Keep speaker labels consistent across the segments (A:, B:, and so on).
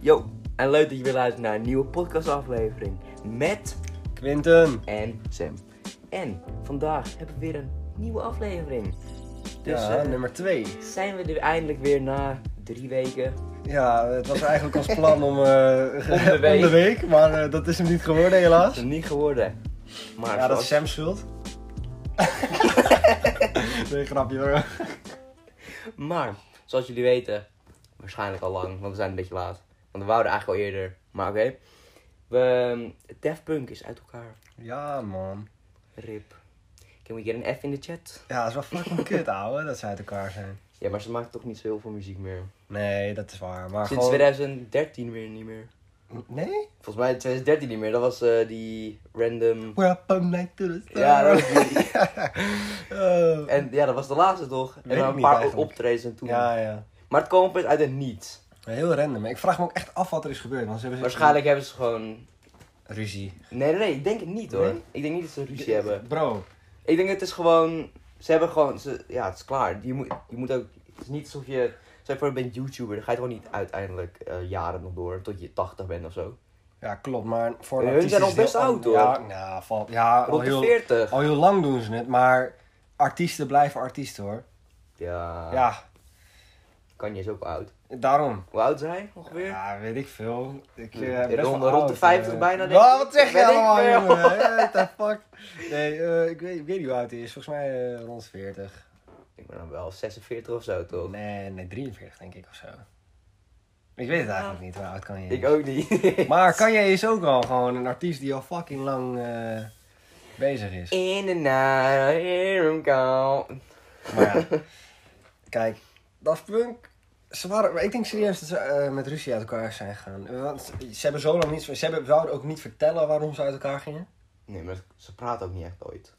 A: Yo, en leuk dat je weer luistert naar een nieuwe podcastaflevering met
B: Quinten.
A: en Sam. En vandaag hebben we weer een nieuwe aflevering. Dus
B: Ja,
A: eh,
B: nummer twee.
A: zijn we er eindelijk weer na drie weken.
B: Ja, het was eigenlijk ons plan om, eh
A: Om de week.
B: om de week, maar eh, dat is hem niet geworden
A: Dat
B: helaas.
A: is niet geworden. Maar
B: Ja, dat
A: zoals-
B: is Sam's schuld. nee, grapje hoor.
A: Maar, zoals jullie weten, waarschijnlijk al lang, want we zijn een beetje laat. Want we wouden eigenlijk al eerder, maar oké. We ehm, Def Punk is uit elkaar.
B: Ja man.
A: Rip. Can we get een F in de chat?
B: Ja, dat is wel fucking kut ouwe, dat ze uit elkaar zijn.
A: Ja, maar ze maken toch niet zo heel veel muziek meer.
B: Nee, dat is waar. Maar
A: Sinds
B: gewoon...
A: 2013 weer niet meer.
B: Nee?
A: Volgens mij 2013 niet meer. Dat was eh, die random...
B: We're up all night to the stars.
A: Ja, dat was die.
B: Oh.
A: En ja, dat was de laatste toch? En dan
B: Weet ik
A: een
B: niet
A: paar
B: eigenlijk.
A: optredens en toen.
B: ja, ja.
A: Maar het kwam opeens uit het niets.
B: Heel random. Ik vraag me ook echt af wat er is gebeurd. Want ze hebben ze-
A: Waarschijnlijk hebben ze gewoon...
B: ruzie.
A: Nee, nee, nee, ik denk het niet hoor.
B: Nee?
A: Ik denk niet dat ze ruzie hebben.
B: Bro,
A: Ik denk het is gewoon. Ze hebben gewoon. Ze, ja, het is klaar. Je moet, je moet ook. Het is niet alsof je. Zeg voor je bent YouTuber, dan ga je toch niet uiteindelijk eh, jaren nog door. Tot je 80 bent of zo.
B: Ja, klopt, maar voor een
A: Hun
B: artiest
A: zijn al
B: is het
A: best
B: heel-
A: oud, hoor.
B: Ja, nou, valt, ja al,
A: Rond de
B: heel,
A: 40.
B: al heel lang doen ze het, maar artiesten blijven artiesten hoor.
A: Ja.
B: Ja,
A: Kan je is ook oud.
B: daarom.
A: Hoe oud is hij ongeveer?
B: Ja, weet ik veel. Ik, eh,
A: Ja,
B: best wel
A: Hm. rond de- rond de
B: oud,
A: 50
B: eh.
A: bijna, denk
B: Wat,
A: ik.
B: wat zeg je
A: Weet ik
B: allemaal,
A: veel.
B: jongen? Hey, What the fuck? Nee, eh, ik, weet, ik weet niet hoe oud hij is. Volgens mij eh, rond de 40.
A: Ik ben dan wel 46 of zo toch?
B: Nee, nee, 43 denk ik of zo. Ik weet het eigenlijk niet, hoe oud kan je?
A: Ik ook niet.
B: Maar Kanye is ook al gewoon een artiest die al fucking lang eh, bezig is.
A: In the night, I hear him call.
B: Maar ja, kijk, Daft Punk, ze waren, maar ik denk serieus dat ze eh, met Rusia uit elkaar zijn gegaan. Want ze hebben zo lang niets, ze hebben, wouden ook niet vertellen waarom ze uit elkaar gingen.
A: Nee, maar ze praten ook niet echt ooit.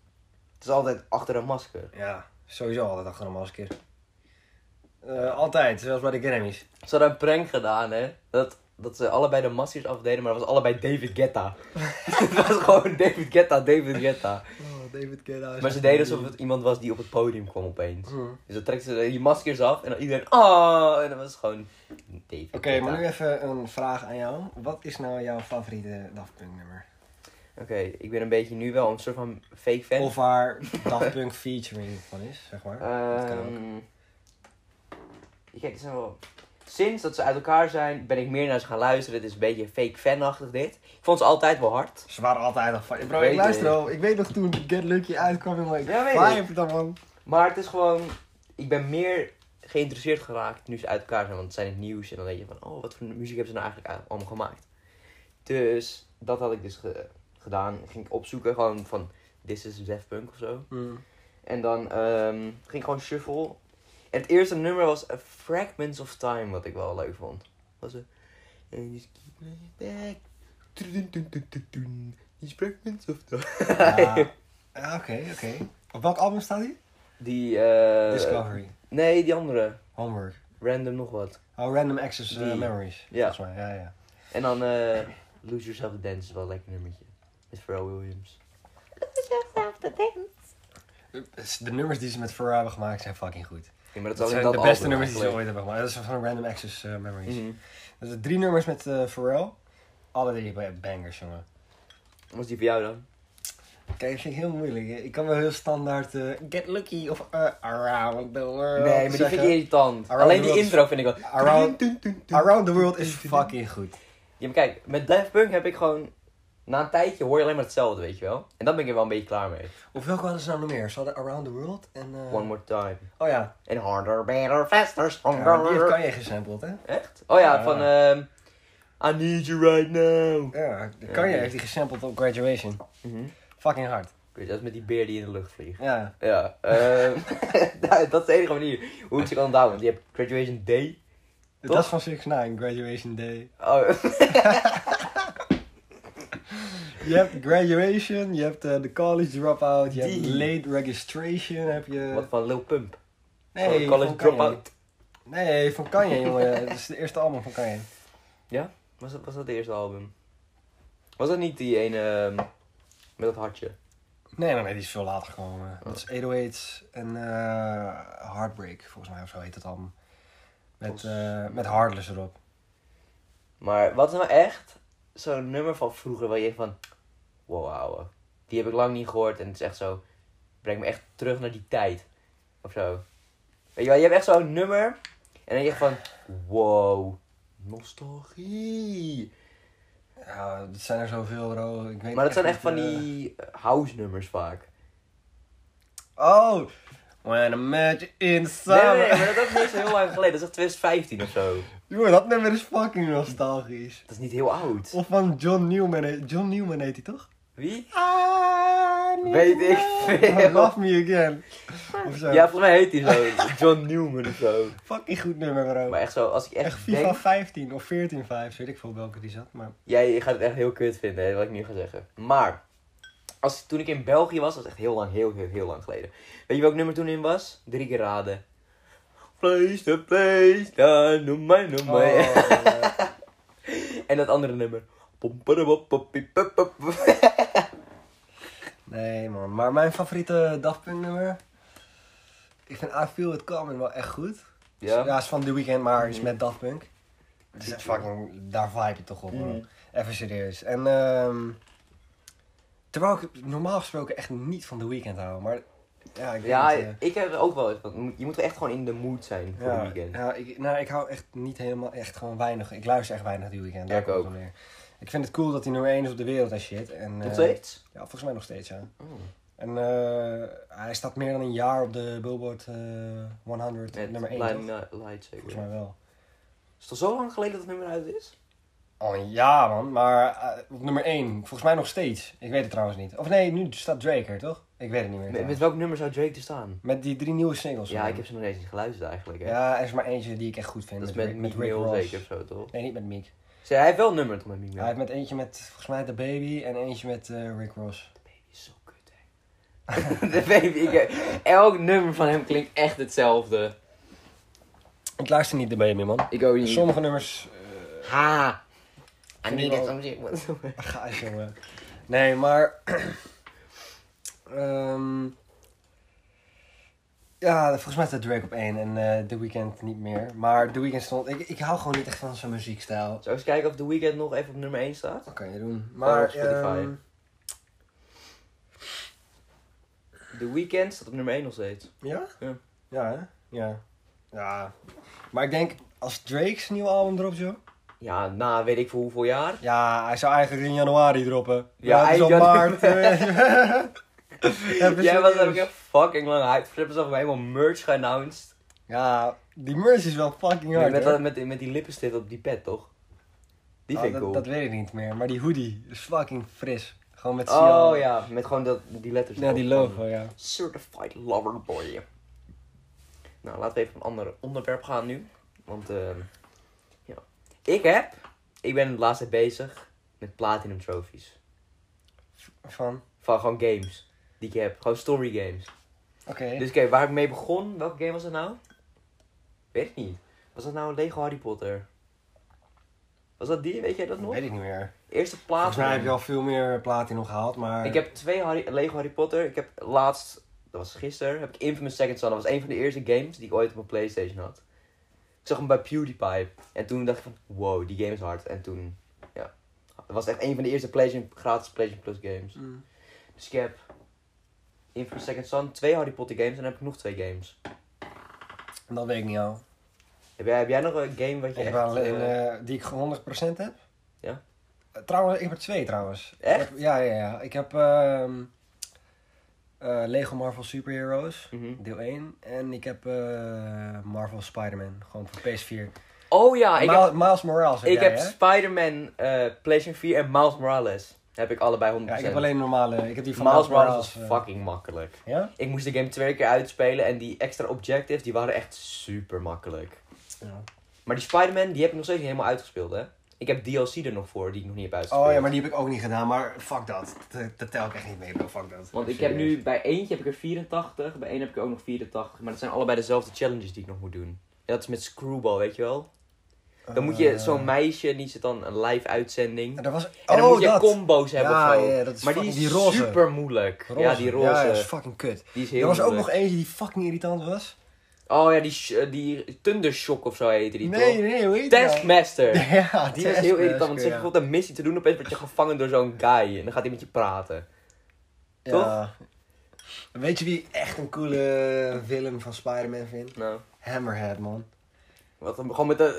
A: Het is altijd achter een masker.
B: Ja, sowieso altijd achter een masker. Eh altijd, zelfs bij de Grammys.
A: Ze hadden een prank gedaan, hè? Dat, dat ze allebei de maskers afdeden, maar dat was allebei David Guetta. Het was gewoon David Guetta, David Guetta.
B: Oh, David Guetta.
A: Maar ze deden alsof het iemand was die op het podium kwam opeens.
B: Hm.
A: Dus dan trekken ze die maskers af en dan iedereen, ah, en dan was het gewoon David
B: Oké,
A: Guetta.
B: maar nu even een vraag aan jou. Wat is nou jouw favoriete Daft Punk nummer?
A: Oké, ik ben een beetje nu wel een soort van fake fan.
B: Of waar Daft Punk featuring van is, zeg
A: Eh,
B: maar. dat kan ook.
A: Ehm, Kijk, dit zijn wel... Sinds dat ze uit elkaar zijn, ben ik meer naar ze gaan luisteren. Het is een beetje fake fanachtig dit. Ik vond ze altijd wel hard.
B: Ze waren altijd nog van. Bro,
A: Weet
B: ik luister
A: ik.
B: al. Ik weet nog toen Get Lucky uitkwam, jongen. Ik
A: Ja, weet ik.
B: vibe dan, man.
A: Maar het is gewoon, ik ben meer geïnteresseerd geraakt nu ze uit elkaar zijn. Want het zijn het nieuws en dan denk je van, oh, wat voor muziek hebben ze nou eigenlijk a- allemaal gemaakt. Dus dat had ik dus ge- gedaan. Ging ik opzoeken gewoon van, this is Daft Punk of zo. En dan ehm, ging ik gewoon shuffle. En het eerste nummer was A Fragments of Time, wat ik wel leuk vond. Was het? And just keep me back. Tududududududun. These fragments of time.
B: Ja, Ja, oké, oké. Op welk album staat hij?
A: Die, eh...
B: Discovery.
A: Nee, die andere.
B: Homework.
A: Random nog wat.
B: Oh, Random Access eh,
A: Die.
B: Memories.
A: Ja.
B: Volgens mij, ja, ja.
A: En dan eh Lose Yourself to Dance is wel een lekker nummertje. Met Pharrell Williams. Lose Yourself to Dance.
B: Dus De nummers die ze met Pharrell hebben gemaakt zijn fucking goed.
A: Ja, maar dat,
B: Dat
A: is alleen
B: zijn
A: dat
B: de beste
A: album
B: nummers die ze
A: eigenlijk.
B: ooit hebben gemaakt. Dat is van Random Access eh, Memories.
A: Mhm.
B: Dat zijn drie nummers met eh Pharrell. Alle drie ba- bangers, jongen.
A: Wat is Mhm. die voor jou dan?
B: Kijk, dat vind ik heel moeilijk. Ik kan wel heel standaard eh, Get Lucky of eh, Around the World
A: nee, maar die vind ik
B: zeggen.
A: irritant.
B: Around
A: alleen
B: the
A: die
B: World-
A: intro vind ik wel.
B: Around- Around the World is fucking goed.
A: Ja, maar kijk, met Daft Punk heb ik gewoon... Na een tijdje hoor je alleen maar hetzelfde, weet je wel. En dan ben ik er wel een beetje klaar mee.
B: Of welke hadden ze nou nog meer? Ze hadden Around the World en... eh,
A: One More Time.
B: Oh ja.
A: En Harder, Better, Faster,
B: Ja, maar die
A: Stronger.
B: heeft Kanye gesampled, hè?
A: Echt? Oh ja,
B: Ja.
A: van... ehm I Need You Right Now.
B: Ja,
A: Ja,
B: Kanye
A: die-
B: heeft die gesampled op Graduation.
A: Mhm.
B: Fucking hard.
A: Weet je, dat is met die beer die in de lucht vliegt.
B: Ja.
A: Ja, ehm, dat- dat is de enige manier hoe ik ze kan onthouden. Want je hebt graduation day. Toch?
B: Dat is van 6 9 Graduation Day.
A: Oh,
B: Je hebt Graduation, je hebt eh, de College Dropout, je hebt
A: Die.
B: Late Registration, heb je...
A: wat van Lil Pump.
B: Nee,
A: van college
B: van Kanye.
A: dropout.
B: Nee, van Kanye, jongen. Dat is de eerste album van Kanye.
A: Was dat, was dat het eerste album? Was dat niet die ene ehm, met dat hartje?
B: Nee, nee, nee, die is veel later gekomen.
A: Oh.
B: Dat is 808's en eh, Heartbreak, volgens mij of zo heet het album. Met,
A: Volgens-
B: eh, met Heartless erop.
A: Maar wat is nou echt zo'n nummer van vroeger waar je echt van... Wow, ouwe. Die heb ik lang niet gehoord en het is echt zo... Breng me echt terug naar die tijd. Of zo. Weet je wel, je hebt echt zo'n nummer en dan denk je echt van... Wow. Nostalgie.
B: Ja, dat zijn er zoveel, bro. Ik weet
A: Maar dat zijn echt van
B: niet, eh,
A: die house nummers vaak.
B: Oh! When I met you in the
A: Nee,
B: summer.
A: nee, nee, maar dat is niet zo heel lang geleden. Dat is echt 2015 of zo.
B: Jongen, dat nummer is fucking nostalgisch.
A: Dat is niet heel oud.
B: Of van John Newman. heet- John Newman heet hij toch?
A: Wie?
B: Ah,
A: Weet ik veel.
B: Love me again. Of zo.
A: Ja, volgens mij heet hij zo. John Newman of zo.
B: Fucking goed nummer, bro.
A: Maar echt zo, als ik echt,
B: Echt FIFA
A: denk...
B: 15 of 14 5, weet ik veel welke die zat. Maar
A: Jij gaat het echt heel kut vinden, hè, wat ik nu ga zeggen. Maar, als, toen ik in België was, dat is echt heel lang, heel, heel, heel lang geleden. Weet je welk nummer toen in was? Drie keer raden. Place the place, da, noem mij, noem mij.
B: eh,
A: En dat andere nummer. Pom, padabop, pop, piep, pop, pop.
B: nee man, maar mijn favoriete dagpuntnummer. Ik vind I Feel It Coming wel echt goed.
A: Ja.
B: is van The Weeknd, maar is met Daft Punk. Het is echt fucking, daar vibe je toch op, bro.
A: Mhm.
B: Even serieus. En ehm terwijl ik normaal gesproken echt niet van The Weeknd hou, maar ja, ik weet
A: Ja,
B: niet, eh,
A: ik heb het ook wel eens. want Je moet wel echt gewoon in de mood zijn voor
B: ja,
A: de weekend.
B: ja, ik, nou, ik hou echt niet helemaal, echt gewoon weinig. Ik luister echt weinig The Weeknd. daar
A: Ja, ik
B: komt het
A: ook.
B: op neer. Ik vind het cool dat hij nummer 1 is op de wereld en shit. En, eh,
A: Nog steeds?
B: Ja, volgens mij nog steeds, ja.
A: Oh.
B: En eh, hij staat meer dan een jaar op de Billboard eh, 100,
A: Met
B: nummer 1.
A: Blinding Light- Light
B: Volgens
A: zeker.
B: mij wel.
A: Is het al zo lang geleden dat het nummer uit is?
B: Oh ja, man, maar eh, op nummer 1, volgens mij nog steeds. Ik weet het trouwens niet. Of nee, nu staat Drake er toch? Ik weet het niet meer.
A: Met,
B: trouwens.
A: met
B: Met,
A: welk nummer zou Drake er staan?
B: die drie nieuwe singles.
A: Ja,
B: man.
A: ik heb ze nog eens niet geluisterd eigenlijk. Hè.
B: Ja, er is maar eentje die ik echt goed vind.
A: dat is met,
B: Rick-
A: Meek
B: Rick
A: Mill
B: Ross.
A: zeker of zo, toch?
B: Nee, niet met Meek.
A: Zij, hij heeft wel een nummer toch met Meek Mill?
B: Hij heeft met eentje met, volgens mij, The Baby en eentje met eh, Rick Ross.
A: De baby is zo kut, hè. de baby, ik, elk nummer van hem klinkt echt hetzelfde.
B: Ik luister niet The Baby, man.
A: Ik ook niet.
B: Sommige nummers...
A: Ha! I
B: Vind
A: need
B: ik
A: it
B: wel-
A: something. What-
B: eh, ga eens, jongen. Nee, maar... Ehm, ja, volgens mij staat Drake op één en eh, The Weeknd niet meer. Maar The Weeknd stond... Ik, ik hou gewoon niet echt van zijn muziekstijl.
A: Zou ik eens kijken of The Weeknd nog even op nummer 1 staat?
B: Dat kan je doen.
A: Gewoon
B: Maar...
A: op Spotify.
B: ehm,
A: The Weeknd staat op nummer 1 nog steeds.
B: Ja?
A: Ja.
B: Ja, hè? Ja. Ja. Maar ik denk, als Drake's nieuw album dropt, joh...
A: Ja, na weet ik voor hoeveel jaar.
B: Ja, hij zou eigenlijk in januari droppen.
A: Ja,
B: Ja, het is al
A: eind
B: maart. Even
A: Jij was
B: serieus.
A: daar ook echt fucking lang hyped. Ze hebben zelf helemaal merch geannounced.
B: Ja, die merch is wel fucking hard.
A: met,
B: hoor.
A: dat, met, die- met die lippenstift op die pet, toch? Die
B: Ah,
A: vind ik
B: dat,
A: cool.
B: dat weet ik niet meer, maar die hoodie is fucking fris. Gewoon met Sian.
A: oh ja, met gewoon dat, die letters.
B: Ja, die
A: erop.
B: logo, ja.
A: Certified Lover Boy. Nou, laten we even op een ander onderwerp gaan nu. Want, ehm, ja. Ik heb, ik ben de laatste tijd bezig met Platinum Trophies.
B: Van,
A: Van gewoon games die ik heb. Gewoon story games.
B: oké.
A: Dus oké, waar ik mee begon, welke game was dat nou? Weet ik niet. Was dat nou Lego Harry Potter? Was dat die? Weet jij dat nog?
B: weet ik niet meer.
A: Eerste plaats.
B: Volgens mij heb je al veel meer platinum gehaald, maar...
A: Ik heb twee Harry, Lego Harry Potter. Ik heb laatst, dat was gisteren, heb ik Infamous Second Son. Dat was een van de eerste games die ik ooit op mijn Playstation had. Ik zag hem bij PewDiePie. En toen dacht ik van, wow, die game is hard. En toen, ja. Dat was echt een van de eerste PlayStation, gratis PlayStation Plus games.
B: Mm.
A: Dus ik heb Infamous Second Son, twee Harry Potter games en dan heb ik nog twee games.
B: Dat weet ik niet al.
A: Heb jij, heb jij nog een game wat
B: Ik
A: je
B: heb
A: echt...
B: wel een,
A: eh,
B: eh, die ik gewoon 100% heb.
A: Ja?
B: Eh, Trouwens, ik heb er twee trouwens. Ik
A: Echt?
B: heb- ja, ja, ja. Ik heb ehm, eh, Lego Marvel Super Heroes,
A: mhm.
B: deel 1. En ik heb eh, Marvel Spider-Man, gewoon voor PS4.
A: Oh ja, ik
B: Miles,
A: heb,
B: Miles Morales heb
A: ik
B: jij,
A: heb
B: hè?
A: Spider-Man, eh, PlayStation 4 en Miles Morales. Heb ik allebei 100%.
B: Ja, ik heb alleen normale. Ik heb die van
A: Miles Morales was
B: eh,
A: fucking makkelijk.
B: Ja?
A: Ik moest de game twee keer uitspelen en die extra objectives die waren echt super makkelijk.
B: ja.
A: Maar die Spider-Man die heb ik nog steeds niet helemaal uitgespeeld, hè? Ik heb DLC er nog voor die ik nog niet heb uitgespeeld.
B: Oh ja, maar die heb ik ook niet gedaan, maar fuck dat. Dat, dat tel ik echt niet mee, bro. Fuck dat.
A: Want ik heb nu bij eentje heb ik er 84, bij één heb ik er ook nog 84, maar dat zijn allebei dezelfde challenges die ik nog moet doen. En dat is met Screwball, weet je wel? Dan moet je
B: Eh,
A: zo'n meisje, en die zit dan een live uitzending.
B: er was,
A: En dan
B: oh,
A: moet je
B: dat.
A: combo's hebben
B: Ja,
A: of zo.
B: ja, dat is
A: maar die is
B: fucking- die roze.
A: super moeilijk. Ja, die roze.
B: Ja, dat is fucking kut.
A: Die is heel
B: Er was ook nog
A: moeilijk.
B: eentje die fucking irritant was.
A: Oh ja, die, sh- eh, die Thundershock of zo heette die
B: nee,
A: toch?
B: nee, hoe heet die nou?
A: Taskmaster.
B: Ja,
A: Die
B: die
A: was heel irritant, want ze
B: ja.
A: heeft bijvoorbeeld een missie te doen. Opeens word je gevangen door zo'n guy en dan gaat hij met je praten. toch?
B: Ja. Weet je wie ik echt een coole Willem van Spider-Man vindt?
A: Nou,
B: Hammerhead, man.
A: wat, dan- gewoon met een,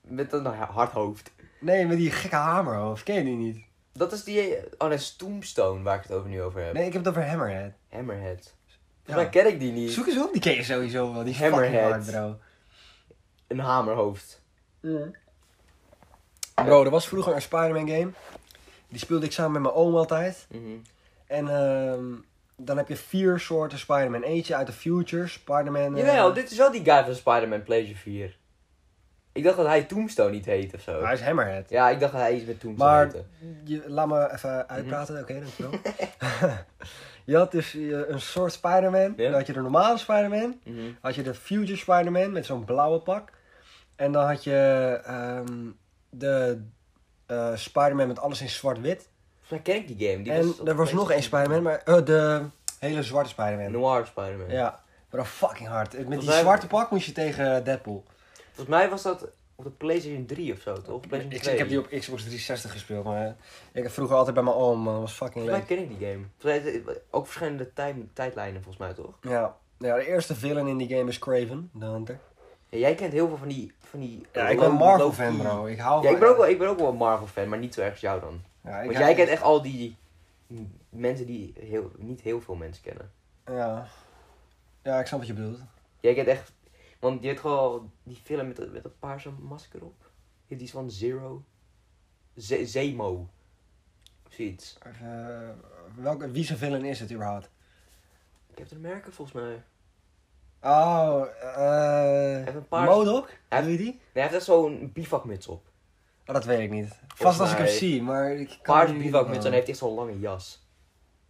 A: met een nou hard hoofd.
B: Nee, met die gekke hamerhoofd. Ken je die niet?
A: Dat is die... Oh, dat is Tombstone waar ik het over nu over heb.
B: Nee, ik heb het over Hammerhead.
A: Hammerhead.
B: Ja.
A: Maar ken ik die niet.
B: Zoek eens op, die ken je sowieso wel. Die is
A: Hammerhead.
B: Hammerhead. fucking hard,
A: Een hamerhoofd.
B: bro. Bro, er was vroeger een Spider-Man game. Die speelde ik samen met mijn oom altijd.
A: Mhm.
B: En ehm, dan heb je vier soorten Spider-Man. Eentje uit de future, Spider-Man... eh,
A: Jawel, dit is wel die guy van Spider-Man Pleasure 4. Ik dacht dat hij Tombstone niet heet of zo.
B: Hij is Hammerhead.
A: Ja, ik dacht dat hij iets met Tombstone
B: Maar-
A: heette.
B: Je, laat me
A: Mhm.
B: even uitpraten, oké, dankjewel. je had dus eh, een soort Spider-Man.
A: Ja.
B: Dan had je de normale Spider-Man.
A: Mhm.
B: Had je de Future Spider-Man met zo'n blauwe pak. En dan had je ehm, de eh, Spider-Man met alles in zwart-wit.
A: Volgens mij ken ik die game. Die
B: En er was nog één Spider-Man, maar eh, de hele zwarte Spider-Man.
A: Noir Spider-Man.
B: Ja, maar dat fucking hard. Met die
A: wij-
B: zwarte pak moest je tegen Deadpool.
A: Volgens mij was dat op de PlayStation 3 of zo, toch? PlayStation
B: Ik,
A: 2.
B: ik heb die op Xbox 360 gespeeld, maar eh, ik heb vroeger altijd bij mijn oom, man. Dat was fucking
A: Volgens
B: leuk.
A: mij ken ik die game. Volgens mij is het ook verschillende tijd, tijdlijnen, volgens mij, toch?
B: Ja. ja, de eerste villain in die game is Craven, de Hunter.
A: Ja, jij kent heel veel van die... Van die eh,
B: Ja, ik ben
A: Lo-
B: Marvel-fan,
A: Loki.
B: bro. Ik hou
A: Ja, ik
B: van-
A: ben, ook wel, ik ben ook wel een Marvel-fan, maar niet zo erg als jou dan.
B: Ja, ik
A: Want
B: hou-
A: jij kent echt al die m- mensen die heel, niet heel veel mensen kennen.
B: Ja. ja, ik snap wat je bedoelt.
A: Jij kent echt... Want je hebt gewoon die film met, dat- met een paarse masker op. Je hebt iets van Zero. Ze- Zemo. Of zoiets.
B: Eh, welke, wie zijn villain is het überhaupt?
A: Captain America, volgens mij.
B: Oh, eh...
A: Even een paar-
B: Modok?
A: Hij-
B: Doe je die?
A: Nee, hij heeft echt zo'n bivakmuts op.
B: Oh, dat weet ik niet. Vast als ik hem
A: mij-
B: zie, maar ik kan...
A: Paars
B: nu-
A: bivakmuts en hij heeft echt zo'n lange jas.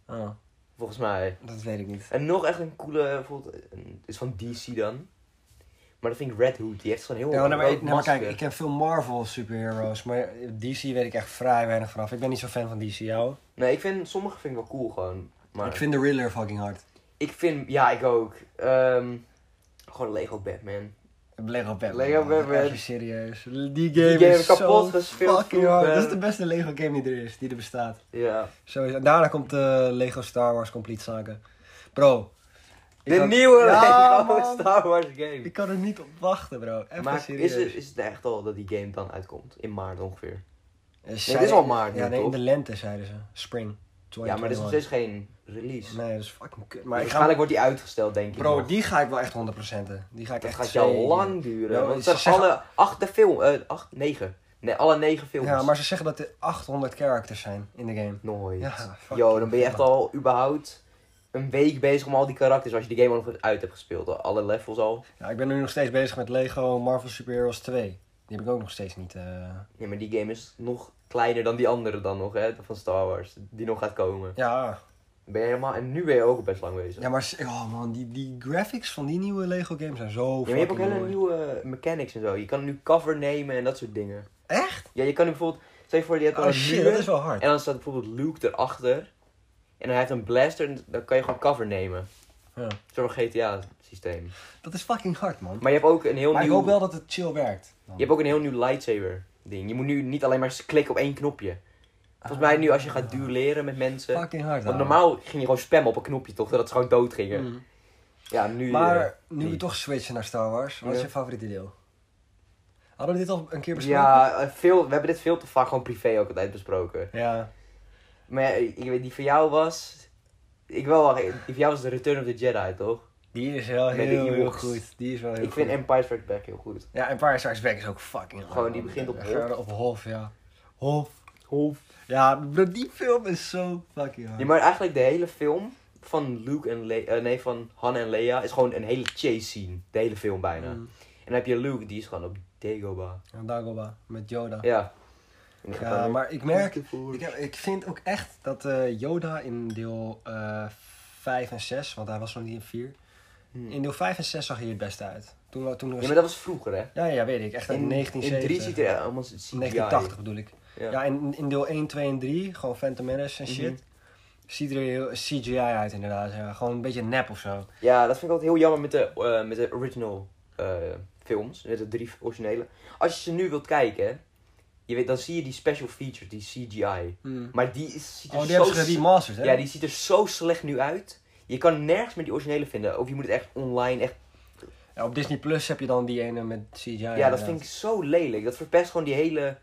B: Oh,
A: Volgens mij.
B: dat weet ik niet.
A: En nog echt een coole, bijvoorbeeld, een- is van DC dan. Maar dat vind ik Red Hood, die heeft zo'n heel
B: Ja, maar, nee, maar,
A: Oh, rood
B: ik- nee, maar kijk,
A: masker.
B: ik ken veel Marvel superheroes, maar DC weet ik echt vrij weinig vanaf. Ik ben niet zo fan van DC, jou.
A: Nee, ik vind, sommige vind ik wel cool gewoon. Maar
B: Ik vind de Riddler fucking hard.
A: ja, ik ook. Ehm, gewoon Lego Batman.
B: Lego Batman.
A: Lego
B: man.
A: Batman.
B: Even serieus. Die game,
A: game
B: is
A: kapot
B: zo
A: gespeeld
B: fucking hard.
A: vroeger.
B: Dat is de beste Lego game die er is, die er bestaat.
A: Ja.
B: Sowieso. Daarna komt de Lego Star Wars Complete Saga. Bro. ik
A: De
B: kan-
A: nieuwe
B: Ja,
A: Lego
B: man.
A: Star Wars game.
B: Ik kan er niet op wachten, bro. Even
A: maar
B: serieus.
A: is het, is het echt al dat die game dan uitkomt? In maart ongeveer.
B: Eh,
A: het
B: zeiden-
A: is al maart
B: Ja,
A: nu,
B: nee, in
A: toch?
B: de lente zeiden ze. Spring.
A: Ja, maar er is nog
B: 2021.
A: steeds geen release.
B: Nee, dat is fucking kut. Maar
A: Maar
B: ik ga...
A: waarschijnlijk wordt die uitgesteld, denk ik.
B: Bro,
A: nog.
B: die ga ik wel echt 100%en. Die ga ik
A: Dat
B: echt
A: gaat jou
B: zeker-
A: lang duren.
B: Ja,
A: want
B: ze
A: dat zijn
B: zeggen-
A: alle acht de film, eh, acht, negen. Nee, alle negen films.
B: Ja, maar ze zeggen dat er 800 characters zijn in de game.
A: Nooit.
B: Ja, fuck.
A: Yo, dan ben je echt al überhaupt een week bezig om al die karakters, als je die game al nog uit hebt gespeeld. al- Alle levels al.
B: Ja, ik ben nu nog steeds bezig met Lego Marvel Super Heroes 2. Die heb ik ook nog steeds niet... eh,
A: Nee, maar die game is nog kleiner dan die andere dan nog, hè, van Star Wars. Die nog gaat komen.
B: Ja,
A: Ben je helemaal, en nu ben je ook best lang bezig.
B: Ja, maar s- oh man, die, die graphics van die nieuwe Lego games zijn zo
A: Ja, maar je hebt ook
B: fucking
A: hele
B: mooi.
A: nieuwe eh, mechanics en zo. Je kan nu cover nemen en dat soort dingen.
B: Echt?
A: Ja, je kan nu bijvoorbeeld... Stel je voor, je hebt al
B: Oh
A: een
B: shit,
A: muur.
B: dat is wel hard.
A: En dan staat bijvoorbeeld Luke erachter. En hij heeft een blaster en dan kan je gewoon cover nemen.
B: Ja.
A: Zo'n GTA-systeem.
B: Dat is fucking hard, man.
A: Maar je hebt ook een heel
B: Maar ik
A: nieuw...
B: hoop wel dat het chill werkt.
A: Je hebt ook een heel nieuw lightsaber ding. Je moet nu niet alleen maar klikken op één knopje. Volgens mij nu als je gaat duelleren met mensen...
B: Fucking hard,
A: eh, Want
B: ouwe.
A: normaal ging je gewoon spammen op een knopje, toch? Dat ze gewoon dood gingen.
B: Mm.
A: Ja, nu... eh,
B: Maar nu we
A: niet.
B: toch switchen naar Star Wars, wat is
A: Ja.
B: je favoriete deel? Hadden we dit al een keer besproken?
A: ja, eh, veel, we hebben dit veel te vaak gewoon privé ook altijd besproken.
B: Ja.
A: Maar ja, ik weet, die van jou was... Ik wel, wacht, die van jou was de Return of the Jedi, toch?
B: Die is wel
A: Met de
B: heel, heel
A: Ewoks.
B: goed. Die is wel heel
A: ik vind
B: goed.
A: Empire Strikes Back heel goed.
B: Ja, Empire Strikes Back is ook fucking hard.
A: Gewoon, die
B: man.
A: begint op
B: Ja,
A: Hoth.
B: Op Hof, ja. Hof.
A: Hof.
B: Ja, bro, die film is zo fucking hard.
A: Nee, maar eigenlijk de hele film van Luke en Le eh, nee, van Han en Leia is gewoon een hele chase scene. De hele film bijna. En
B: Mm.
A: dan heb je Luke, die is gewoon op Dagobah.
B: En Dagobah, met Yoda.
A: Ja.
B: Ja, Eh, maar ik merk, ik, heb, ik vind ook echt dat eh, Yoda in deel eh 5 en 6, want hij was nog niet in 4. In deel 5 en 6 zag hij het beste uit. Toen, toen
A: Ja,
B: was,
A: maar dat was vroeger, hè?
B: ja, ja, weet ik. Echt uit
A: In, in 3 ziet
B: 1970.
A: er allemaal CGI.
B: 1980 bedoel ik.
A: Ja.
B: Ja, in, in deel 1, 2 en 3, gewoon Phantom Menace en shit. Ziet er heel CGI uit inderdaad. Ja. Gewoon een beetje nep of zo.
A: Ja, dat vind ik altijd heel jammer met de, eh, met de original eh, films. Met de drie originele. Als je ze nu wilt kijken, je weet, dan zie je die special features, die CGI. Maar die is, ziet er
B: Mm. Oh, die
A: zo
B: hebben ze geremasterd, hè?
A: Ja, die ziet er zo slecht nu uit. Je kan nergens meer die originele vinden. Of je moet het echt online echt...
B: Ja, op Disney Plus heb je dan die ene met CGI.
A: Ja, dat vind ik zo lelijk. Dat verpest gewoon die hele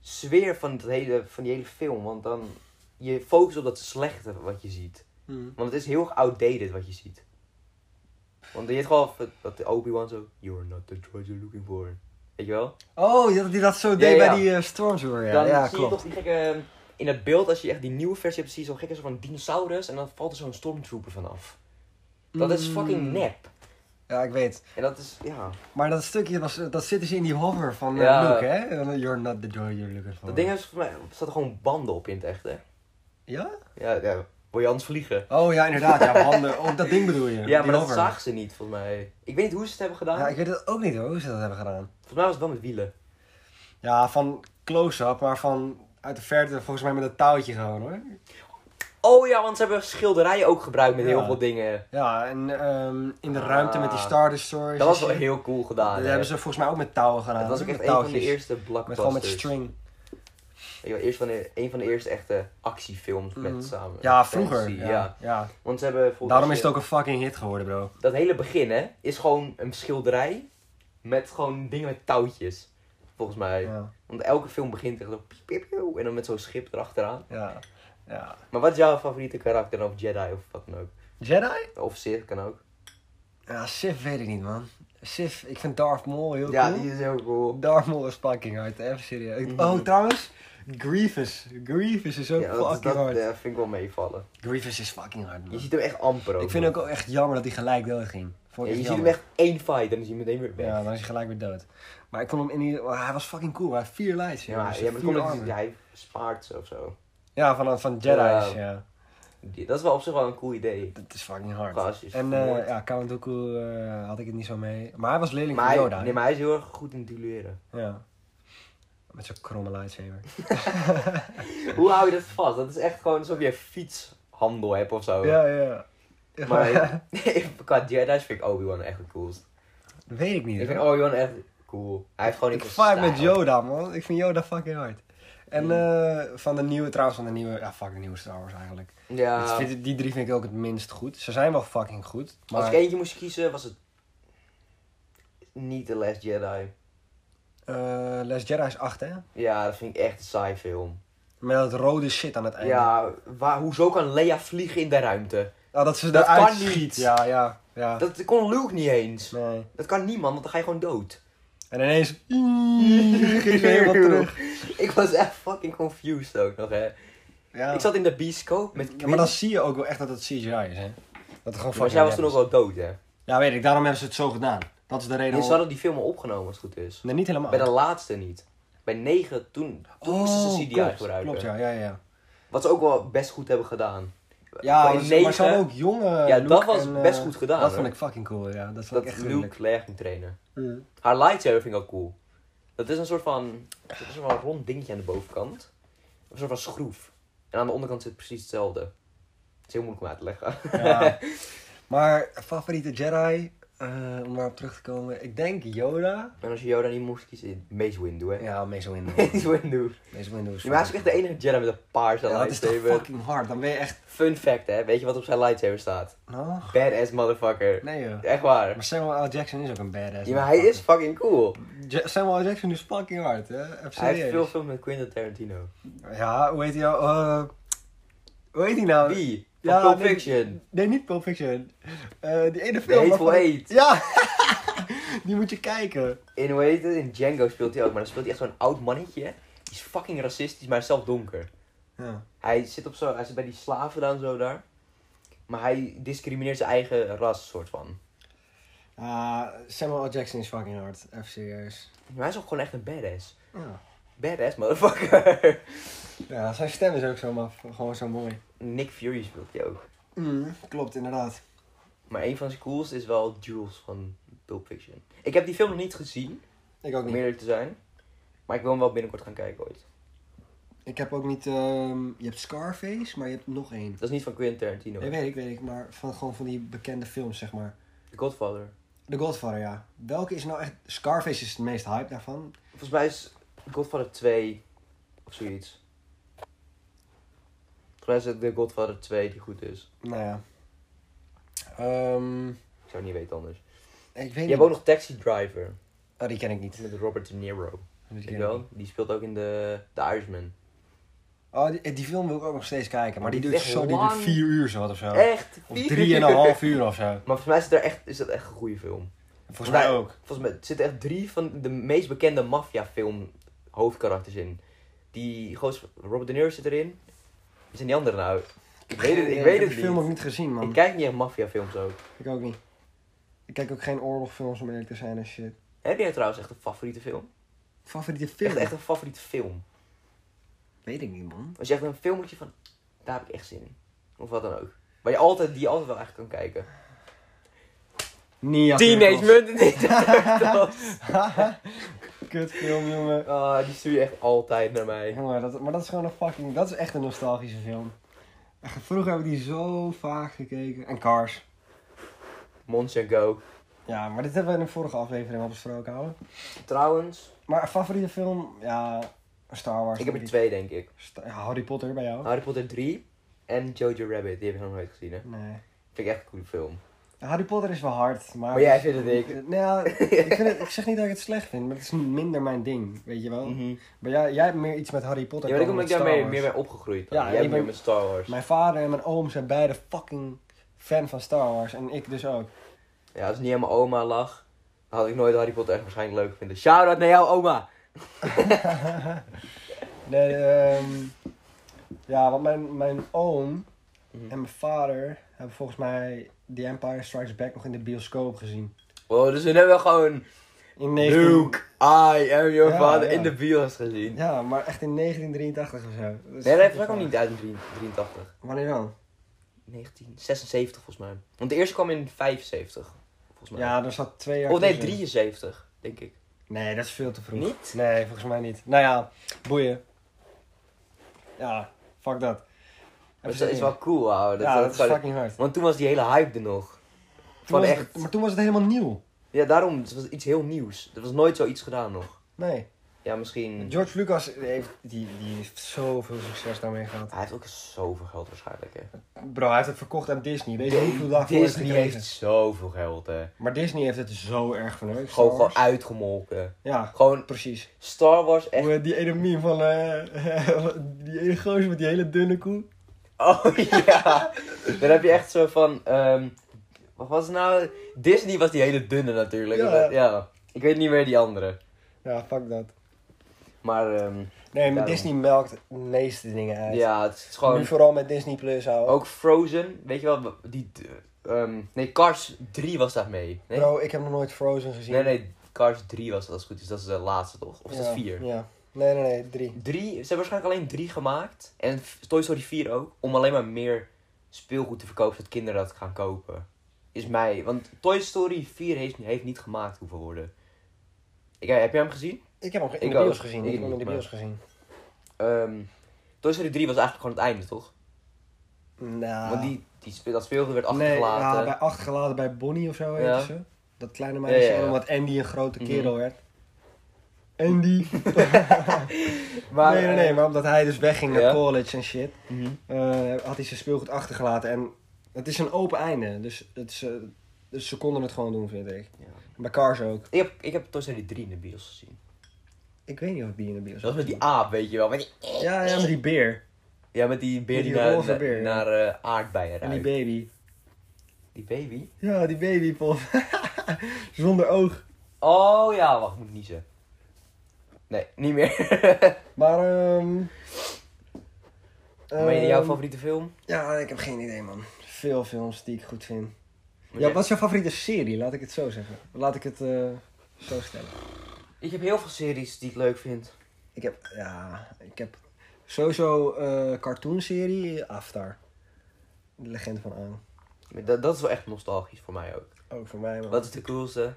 A: sfeer van, het hele, van die hele film. Want dan... Je focust op dat slechte wat je ziet. Want het is heel erg outdated wat je ziet. Want je hebt gewoon wat- wat de Obi-Wan zo... You're not the droid you're looking for. Weet je wel?
B: Oh, dat die dat zo deed
A: ja.
B: bij die eh, Stormtrooper. Ja,
A: dan
B: ja
A: zie je
B: klopt.
A: toch die gekke... In het beeld, als je echt die nieuwe versie hebt, zie je zo'n gekke soort van dinosaurus. En dan valt er zo'n stormtrooper vanaf. Dat is fucking
B: Mm.
A: nep.
B: Ja, ik weet.
A: En dat is, ja...
B: Maar dat stukje, was, dat zitten ze in die hover van eh,
A: Ja.
B: Luke, hè? En, You're not the door you're looking for.
A: Dat ding is, voor mij, er zaten gewoon banden op in het echt, hè?
B: Ja?
A: Ja, ja. Wil je anders vliegen?
B: Oh ja, inderdaad. Ja, handen. Oh, dat ding bedoel je.
A: Ja,
B: die
A: maar dat
B: hover.
A: zagen ze niet, volgens mij. Ik weet niet hoe ze het hebben gedaan.
B: Ja, ik weet het ook niet hoor, hoe ze dat hebben gedaan.
A: Volgens mij was het wel met wielen.
B: Ja, van close-up, maar van uit de verte volgens mij met een touwtje gewoon hoor.
A: Oh ja, want ze hebben schilderijen ook gebruikt met
B: Ja.
A: heel veel dingen.
B: Ja, en ehm, in de
A: Ah.
B: ruimte met die Star Destroyers.
A: Dat was
B: en
A: wel
B: shit.
A: heel cool gedaan.
B: Dat
A: hè.
B: hebben ze volgens mij ook met touwen gedaan.
A: dat was ook
B: Met
A: echt een van de
B: touwtjes.
A: eerste
B: Met gewoon met
A: blockbusters.
B: string.
A: Weet je wel, eerst van de, een van de eerste echte actiefilms
B: Mhm.
A: met samen.
B: Ja,
A: fantasy,
B: vroeger. Ja.
A: Ja.
B: Ja.
A: Want ze hebben volgens
B: Daarom is
A: je-
B: het ook een fucking hit geworden, bro.
A: Dat hele begin, hè, is gewoon een schilderij met gewoon dingen met touwtjes. Volgens mij.
B: Ja.
A: Want elke film begint echt zo... piep, piep, piep, en dan met zo'n schip erachteraan.
B: Ja. ja.
A: Maar wat is jouw favoriete karakter? Of Jedi of wat dan ook?
B: Jedi?
A: Of Sith kan ook.
B: Ja, Sif weet ik niet, man. Sif, ik vind Darth Maul heel
A: ja,
B: cool.
A: die is heel cool.
B: Darth Maul is fucking hard, even serieus.
A: Mhm.
B: Oh, trouwens, Grievous. Grievous is ook
A: Ja, dat, is-
B: fucking
A: dat
B: hard.
A: eh, vind ik wel meevallen.
B: Grievous is fucking hard, man.
A: Je ziet hem echt amper ook.
B: Ik vind
A: nog.
B: ook wel echt jammer dat hij gelijk dood ging.
A: Ja,
B: Vond
A: je
B: ik
A: ziet hem
B: jammer.
A: echt één fight en dan is hij meteen weer weg.
B: Ja,
A: Ja,
B: dan is hij gelijk weer dood. Maar ik vond hem in ieder geval... Hij was fucking cool. Hij had vier lights.
A: maar, ja,
B: jongens.
A: maar het
B: dus Vier
A: komt omdat
B: armen.
A: hij- hij spaart ze of zo.
B: Ja, van, van
A: Ja.
B: Jedi's, ja.
A: Die- Dat is wel op zich wel een cool idee.
B: Dat is fucking hard.
A: Gast is
B: en eh,
A: vermoord.
B: ja, Count Dooku eh, had ik het niet zo mee. Maar hij was leerling
A: Maar
B: van
A: hij,
B: Yoda.
A: nee, maar hij is heel erg goed in duelleren.
B: Ja. Met zo'n kromme lightsaber.
A: Hoe hou je dat vast? Dat is echt gewoon alsof je een fietshandel hebt of zo.
B: Ja, ja.
A: Maar qua Jedi's vind ik Obi-Wan echt het coolst.
B: Dat weet ik niet.
A: Ik vind
B: hoor.
A: Obi-Wan echt cool. Hij heeft gewoon
B: ik
A: iets
B: fight met Yoda, man. Ik vind Yoda fucking hard. En
A: Mm.
B: eh, van de nieuwe, trouwens van de nieuwe... Ja, fuck de nieuwe Star Wars eigenlijk. Dat
A: Ja.
B: vind ik- die drie vind ik ook het minst goed. Ze zijn wel fucking goed. Maar...
A: Als ik eentje moest kiezen, was het niet The Last Jedi.
B: Eh, Last Jedi is 8, hè?
A: Ja, dat vind ik echt een saai film.
B: Met dat rode shit aan het einde.
A: Ja, waar, hoezo kan Leia vliegen in de ruimte?
B: Ah, dat ze
A: Dat
B: eruit
A: kan niet.
B: schiet. Ja, ja, ja.
A: Dat kon Luke niet eens.
B: Nee.
A: Dat kan niemand, want dan ga je gewoon dood.
B: En ineens... ging ze helemaal terug.
A: Ik was echt fucking confused ook nog, hè.
B: Ja.
A: Ik zat in de Bisco met Quinn.
B: Ja, maar dan zie je ook wel echt dat het CGI is, hè? Dat het gewoon
A: Maar
B: fucking
A: zij was
B: nep
A: toen ook wel
B: is.
A: dood, hè.
B: Ja, weet ik. Daarom hebben ze het zo gedaan. Dat is de reden
A: En ze
B: waarom...
A: hadden die film al opgenomen, als het goed is.
B: Nee, niet helemaal. Oh,
A: Bij de laatste niet. Bij 9, toen, toen moesten ze CDI
B: klopt,
A: gebruiken.
B: Klopt, ja, ja, ja.
A: Wat ze ook wel best goed hebben gedaan.
B: Ja,
A: Bij
B: maar ze- maar
A: negen-
B: ze hadden ook jonge
A: Ja,
B: Luke
A: dat was
B: en, eh,
A: best goed gedaan,
B: Dat
A: hoor.
B: vond ik fucking cool, ja. Dat vond
A: dat
B: ik echt gruwelijk.
A: Luke Leia ging trainen.
B: Mm.
A: Haar lightsaber vind ik ook cool. Dat is een soort van... Dat is een rond dingetje aan de bovenkant. Een soort van schroef. En aan de onderkant zit precies hetzelfde. Het is heel moeilijk om uit te leggen.
B: Ja. Maar favoriete Jedi, eh, om daarop terug te komen. Ik denk Yoda.
A: En als je Yoda niet moest kiezen... Mace Windu, hè?
B: Ja, Mace Windu.
A: Mace Windu.
B: Mace Windu is
A: Ja, maar hij is ook echt de enige Jedi met een paarse
B: Ja, dat is toch
A: lightsaber.
B: fucking hard. Dan ben je echt...
A: Fun fact, hè? Weet je wat op zijn lightsaber staat?
B: Nou,
A: Badass motherfucker.
B: nee joh.
A: Echt waar.
B: Maar Samuel L. Jackson is ook een badass.
A: Ja, maar hij is fucking cool.
B: Ja- Samuel L. Jackson is fucking hard, hè? Even
A: Hij heeft
B: serieus.
A: veel films met Quentin Tarantino.
B: Ja, hoe heet hij nou? Eh, hoe heet hij nou?
A: Wie? Van
B: Ja,
A: Pulp
B: nee.
A: Fiction.
B: Nee, niet Pulp Fiction. Eh, die ene film.
A: Hateful
B: waarvan-
A: Eight.
B: Ja! die moet je kijken.
A: In, hoe heet het? In Django speelt hij ook, maar dan speelt hij echt zo'n oud mannetje. Die is fucking racistisch, maar hij is zelf donker.
B: Ja.
A: Hij zit, op zo, hij zit bij die slaven dan zo daar. Maar hij discrimineert zijn eigen ras, soort van.
B: Ah, Samuel L. Jackson is fucking hard. Even serieus.
A: Maar hij is ook gewoon echt een badass.
B: Ja.
A: Badass, motherfucker.
B: ja, zijn stem is ook zo maf. Gewoon zo mooi.
A: Nick Fury speelt hij ook. Mm.
B: klopt, inderdaad.
A: Maar een van zijn coolste is wel Jules van Pulp Fiction. Ik heb die film nog niet gezien,
B: Ik ook
A: om
B: niet.
A: eerlijk te zijn. Maar ik wil hem wel binnenkort gaan kijken ooit.
B: Ik heb ook niet... ehm, je hebt Scarface, maar je hebt nog één.
A: Dat is niet van Quentin Tarantino.
B: Nee, weet ik, weet ik. Maar van, gewoon van die bekende films, zeg maar.
A: The Godfather.
B: The Godfather, ja. Welke is nou echt... Scarface is het meest hype daarvan.
A: Volgens mij is Godfather 2 of zoiets. Volgens mij is het The Godfather 2 die goed is.
B: Nou ja. Ehm,
A: Ik zou het niet weten anders.
B: ik weet
A: Je
B: niet.
A: hebt ook nog Taxi Driver.
B: Oh, die ken ik niet.
A: Met Robert De Niro.
B: Die
A: Weet je
B: ken ik niet.
A: wel? Die speelt ook in de, de Irishman.
B: Oh, die, die film wil ik ook nog steeds kijken. Maar die,
A: Die
B: duurt
A: is
B: zo, die
A: lang.
B: duurt vier uur zo wat of zo.
A: Echt?
B: Of
A: Vier
B: drieënhalf uur of zo.
A: Maar volgens mij is, het er echt, is dat echt een goede film.
B: Volgens mij ook.
A: Volgens mij zitten echt drie van de meest bekende maffiafilm hoofdkarakters in. Die gozer, Robert De Niro zit erin. Wie zijn die anderen nou? Ik weet het, ik
B: Nee,
A: weet
B: heb
A: het
B: die
A: niet.
B: film ook niet gezien, man.
A: Ik kijk niet echt maffiafilms ook.
B: Ik ook niet. Ik kijk ook geen oorlogfilms om eerlijk te zijn en shit.
A: Heb jij trouwens echt een favoriete film?
B: Favoriete film?
A: Echt, echt een favoriete film.
B: Weet ik niet, man.
A: Als je echt een film moet je van, daar heb ik echt zin in. Of wat dan ook. Maar je altijd, die je altijd wel echt kan kijken.
B: Nia
A: Teenage Mutant Ninja Turtles.
B: Kutfilm, jongen.
A: Ah, die stuur je echt altijd naar mij.
B: Jongen, dat, maar dat is gewoon een fucking... Dat is echt een nostalgische film. Echt, Vroeger heb ik die zo vaak gekeken. En Cars.
A: Monster Go.
B: Ja, maar dit hebben we in de vorige aflevering al besproken, ouwe.
A: Trouwens,
B: Maar een favoriete film? Ja, Star Wars.
A: ik heb er twee denk ik.
B: Sta- ja, Harry Potter bij jou?
A: Harry Potter 3 en Jojo Rabbit. Die heb ik nog nooit gezien hè.
B: Nee.
A: Vind ik echt een goede film.
B: Harry Potter is wel hard, maar...
A: Maar jij vindt het dik.
B: Nou ja, ik, vind het, ik zeg niet dat ik het slecht vind, maar het is minder mijn ding, weet je wel.
A: Mhm.
B: Maar jij, jij hebt meer iets met Harry Potter
A: Ja, maar ik
B: dan
A: omdat ik daar
B: met Star
A: meer,
B: Wars.
A: meer mee opgegroeid ben.
B: Ja,
A: Jij
B: ik
A: bent meer
B: ben-
A: met Star Wars.
B: Mijn vader en mijn oom zijn beide fucking fan van Star Wars. En ik dus ook.
A: Ja, als het niet aan mijn oma lag, dan had ik nooit Harry Potter echt waarschijnlijk leuk vinden. Shout-out naar jou oma!
B: Nee, ehm, ja, want mijn, mijn oom
A: Mhm.
B: en mijn vader hebben volgens mij The Empire Strikes Back nog in de bioscoop gezien.
A: Oh, dus we hebben gewoon
B: In 19...
A: Luke, I am your
B: Ja,
A: father
B: ja.
A: in de bios gezien.
B: Ja, maar echt in 1983 of zo.
A: Nee, dat heeft ook al niet uit in 83.
B: Wanneer dan?
A: 1976 volgens mij. Want de eerste kwam in 75, volgens mij.
B: Ja, er zat twee jaar
A: of Oh, nee,
B: tussen.
A: 73, denk ik.
B: Nee, dat is veel te vroeg.
A: Niet?
B: Nee, volgens mij niet. Nou ja, boeien. Ja, fuck dat.
A: Maar
B: Even
A: dat is
B: zin in.
A: wel cool, ouwe. Dat,
B: ja,
A: dat
B: dat is
A: gewoon-
B: fucking hard.
A: Want toen was die hele hype er nog.
B: Toen
A: Van
B: was
A: echt.
B: het- maar toen was het helemaal nieuw.
A: Ja, daarom, het was iets heel nieuws. Er was nooit zoiets gedaan nog.
B: Nee.
A: Ja, misschien...
B: George Lucas heeft, die, die heeft zoveel succes daarmee gehad.
A: Hij heeft ook zoveel geld waarschijnlijk, hè.
B: Bro, hij heeft het verkocht aan Disney. Weet je hoeveel daarvoor hij
A: Disney
B: gekregen?
A: heeft zoveel geld, hè.
B: Maar Disney heeft het zo erg verneukt.
A: Gewoon,
B: Star Wars.
A: gewoon uitgemolken.
B: Ja,
A: Gewoon
B: precies.
A: Star Wars echt...
B: Hoe, eh, Die ene meme van... eh, die ene gozer met die hele dunne koe.
A: Oh ja. Dan heb je echt zo van... ehm, wat was het nou? Disney was die hele dunne natuurlijk.
B: Ja.
A: Dat- ja. Ik weet niet meer die andere.
B: Ja, fuck dat.
A: Maar ehm,
B: Nee, maar
A: Daarom.
B: Disney melkt de meeste dingen uit.
A: ja, het is
B: Nu
A: gewoon...
B: vooral met Disney Plus houden.
A: Ook Frozen, weet je wel, die... ehm, nee, Cars 3 was daar mee. Nee,
B: Bro, ik heb nog nooit Frozen gezien.
A: nee, nee, Cars 3 was dat als het goed is. Dat is de laatste toch? Of is
B: Ja,
A: dat 4?
B: Ja. Nee, nee, nee, drie.
A: Drie, ze hebben waarschijnlijk alleen drie gemaakt. En f- Toy Story 4 ook. Om alleen maar meer speelgoed te verkopen, zodat kinderen dat gaan kopen. Is mij. Want Toy Story 4 heeft, heeft niet gemaakt hoeven worden. Ik, eh, heb jij hem gezien?
B: Ik heb hem in
A: Ik
B: de
A: ook.
B: bios
A: Ik
B: gezien. Ik heb hem
A: niet,
B: in de
A: maar-
B: bios gezien.
A: Ehm, Toy Story 3 was eigenlijk gewoon het einde, toch?
B: Nou.
A: Want die, die speel, dat speelgoed werd
B: Nee,
A: achtergelaten.
B: ja, bij achtergelaten bij Bonnie of zo heette
A: Ja.
B: ze. Dat kleine meisje.
A: Ja, ja, ja.
B: En omdat Andy een grote
A: Mhm.
B: kerel werd. Andy.
A: Maar,
B: nee, nee, nee.
A: eh,
B: Maar omdat hij dus wegging naar
A: ja.
B: college en shit.
A: mhm.
B: eh, had hij zijn speelgoed achtergelaten. En het is een open einde. Dus, het is, eh, dus ze konden het gewoon doen, vind ik.
A: Ja.
B: Bij Cars ook.
A: Ik, heb, ik heb Toy Story 3 in de bios gezien.
B: Ik weet niet of die in de bios
A: Dat was met die aap, weet je wel. Met die,
B: Ja, ja, met die beer.
A: ja, met die beer
B: Met
A: die
B: die
A: naar,
B: roze
A: na-
B: beer, ja.
A: naar eh, aardbeien
B: En
A: ruikt.
B: die baby.
A: die baby?
B: Ja, die babypop. Zonder oog.
A: Oh ja, wacht, ik moet niezen. Nee, niet meer.
B: Maar, ehm...
A: Maar
B: ehm,
A: jouw favoriete film?
B: Ja, ik heb geen idee, man. Veel films die ik goed vind. Ja,
A: Jij-
B: wat is jouw favoriete serie? Laat ik het zo zeggen. Laat ik het eh, zo stellen.
A: Ik heb heel veel series die ik leuk vind.
B: Ik heb, ja, ik heb sowieso eh cartoonserie Avatar. De legende van Aang.
A: Maar Dat, dat is wel echt nostalgisch voor mij ook.
B: Ook voor mij, man.
A: Wat is de coolste?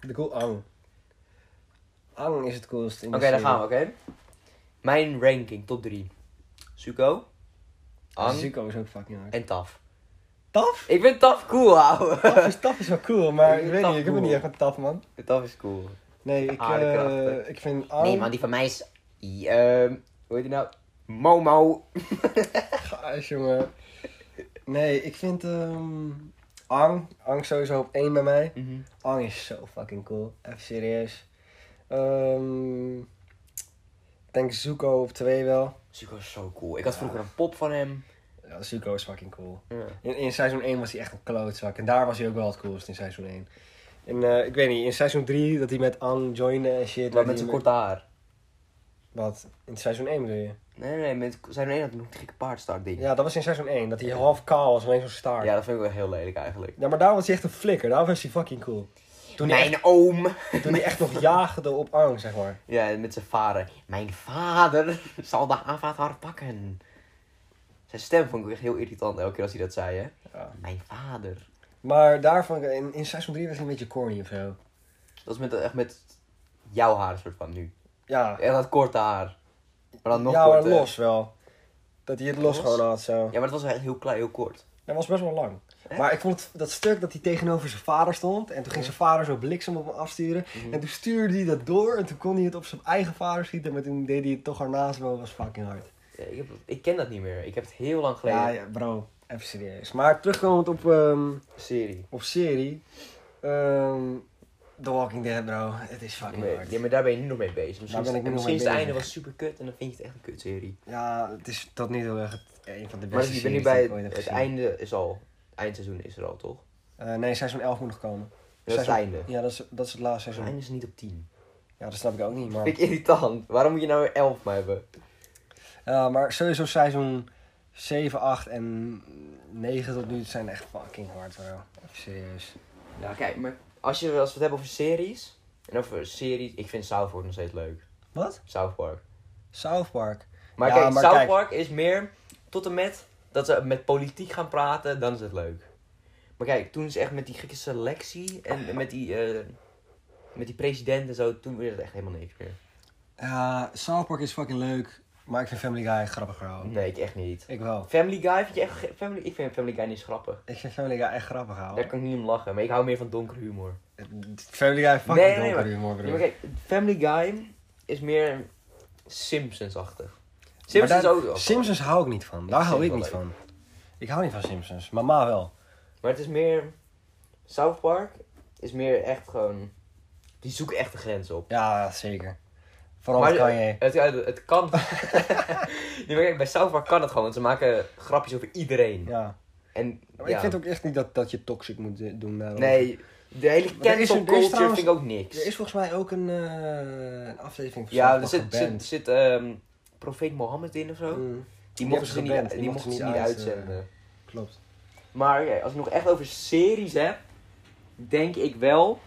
B: De cool Aang. Aang is het coolst in
A: Oké,
B: de
A: daar
B: serie.
A: gaan we, oké? Mijn ranking, top 3. Zuko, Ang
B: Zuko is ook fucking hard.
A: en Taf.
B: Taf?
A: Ik vind Taf cool, ouwe.
B: Taf is, taf is wel cool, maar
A: Ik
B: ik
A: vind
B: weet
A: Taf
B: niet. Ik heb er niet
A: cool.
B: echt een taf, man.
A: Taf is cool.
B: Nee, ik,
A: Aardekrachten.
B: eh ik vind Ang...
A: Nee man, die van mij is... I- ehm, hoe heet die nou? Momo.
B: Gaas, jongen. Nee, ik vind ehm Ang. Ang sowieso op één bij mij.
A: Mhm.
B: Ang is zo fucking cool. Even serieus. Ehm, ik denk Zuko op twee wel.
A: Zuko is zo cool. Ik had vroeger een pop van hem.
B: Ja, Zuko is fucking cool.
A: Ja.
B: In, in seizoen 1 was hij echt een klootzak. En daar was hij ook wel het coolst in seizoen 1. En eh, ik weet niet, in seizoen 3 dat hij met Ang joinde en shit.
A: Maar met
B: werd hij
A: zijn korte haar.
B: Wat? In seizoen 1 bedoel je?
A: Nee, nee, nee. Met zijn een had nog die gekke paardstaart ding. Ja.
B: Ja, dat was in seizoen 1. Dat hij half kaal was, alleen zo'n staart. Ja.
A: dat vind ik wel heel lelijk eigenlijk.
B: maar daar was hij echt een flikker. Daar was hij fucking cool. Toen hij,
A: Mijn oom.
B: echt, toen hij echt nog jaagde op Ang, zeg maar.
A: Ja, met zijn vader. Mijn vader zal de avatar pakken. Zijn stem vond ik echt heel irritant elke keer als hij dat zei, hè.
B: Ja.
A: Mijn vader.
B: Maar daarvan, in, in seizoen 3 was hij een beetje corny of zo.
A: Dat is met, echt met jouw haar soort van nu.
B: Ja,
A: En dat korte haar. Maar dan nog
B: ja maar
A: korter.
B: los wel. Dat hij het los,
A: Los?
B: gewoon had zo.
A: Ja, maar dat was echt heel klein, heel kort.
B: Dat was best wel lang. Maar ik vond het- dat stuk dat hij tegenover zijn vader stond. En toen ging zijn vader zo bliksem op hem afsturen.
A: Mhm.
B: En toen stuurde hij dat door. En toen kon hij het op zijn eigen vader schieten. Maar toen deed hij het toch ernaast. Maar dat was fucking hard.
A: Ja, ik, heb, ik ken dat niet meer. Ik heb het heel lang geleden.
B: Ja, ja, bro. Even serieus. Maar terugkomend op, ehm,
A: Serie.
B: op serie. ehm, The Walking Dead, bro. Het is fucking hard.
A: Ja, maar daar ben je nu nog mee bezig. Misschien,
B: ben ik nu nog
A: misschien
B: mee
A: is het einde wel
B: bezig.
A: super kut en dan vind je het echt een kutserie.
B: Ja, het is tot nu toe echt een van de beste
A: Maar je bent nu
B: series
A: bij
B: die ik ooit
A: het,
B: heb
A: het
B: gezien.
A: einde is al. Eindseizoen is er al, toch?
B: Eh, nee, seizoen 11 moet nog komen.
A: Dat is het
B: Seizoen-
A: einde.
B: Ja, dat is, dat is het laatste
A: Het
B: seizoen.
A: einde is niet op 10.
B: Ja, dat snap ik ook niet, maar...
A: Vind ik irritant. Waarom moet je nou 11 maar hebben?
B: Ja, maar sowieso seizoen 7, 8 en 9 tot nu zijn echt fucking hard, bro. Even serieus.
A: Ja, kijk, maar als, je, als we het hebben over series. En over series. Ik vind South Park nog steeds leuk.
B: Wat?
A: South Park.
B: South Park.
A: Maar
B: Ja,
A: kijk,
B: maar
A: South
B: kijk.
A: Park is meer tot en met dat ze met politiek gaan praten, dan is het leuk. Maar kijk, toen is echt met die gekke selectie en met die, eh, met die president en zo, toen werd het echt helemaal niks meer.
B: Ja, South Park is fucking leuk, maar ik vind Family Guy grappiger houden.
A: Nee, ik echt niet.
B: Ik wel.
A: Family Guy vind je echt. ge- Family, ik vind Family Guy niet eens grappig.
B: Ik vind Family Guy echt grappig
A: Daar
B: houden.
A: kan ik niet om lachen, maar ik hou meer van donker humor.
B: Family Guy fucking
A: Nee,
B: nee,
A: nee,
B: donker
A: maar-
B: humor,
A: Ja,
B: bro.
A: maar kijk, Family Guy is meer Simpsons-achtig.
B: Maar
A: Simpsons
B: daar-
A: is ook. wel
B: Simpsons hou ik niet van. Daar hou ik
A: vind
B: niet
A: het wel
B: van. Ik hou niet van Simpsons. Mama wel.
A: grappig. Oh, Maar het is meer. South Park is meer echt gewoon. Die zoeken echt de grens op.
B: Ja, zeker. Vooral
A: Maar
B: met Kanye.
A: Het, het, het kan. nee, maar kijk, bij South Park kan het gewoon, want ze maken grapjes over iedereen.
B: Ja.
A: En,
B: Maar
A: ja.
B: ik vind ook echt niet dat, dat je toxic moet eh, doen. daarom.
A: Nee, de hele
B: Maar er is- er
A: cancel
B: is
A: culture
B: trouwens-
A: vind ik ook niks.
B: Er is volgens mij ook een, eh, een aflevering van
A: ja,
B: South
A: er
B: Park
A: zit,
B: geband.
A: zit, zit ehm, profeet Mohammed in of zo.
B: Mm,
A: Die mochten
B: hebben
A: ze
B: ze
A: niet,
B: geband,
A: die mochten ze niet uitzenden.
B: Klopt.
A: Maar ja, als ik nog echt over series heb, denk ik wel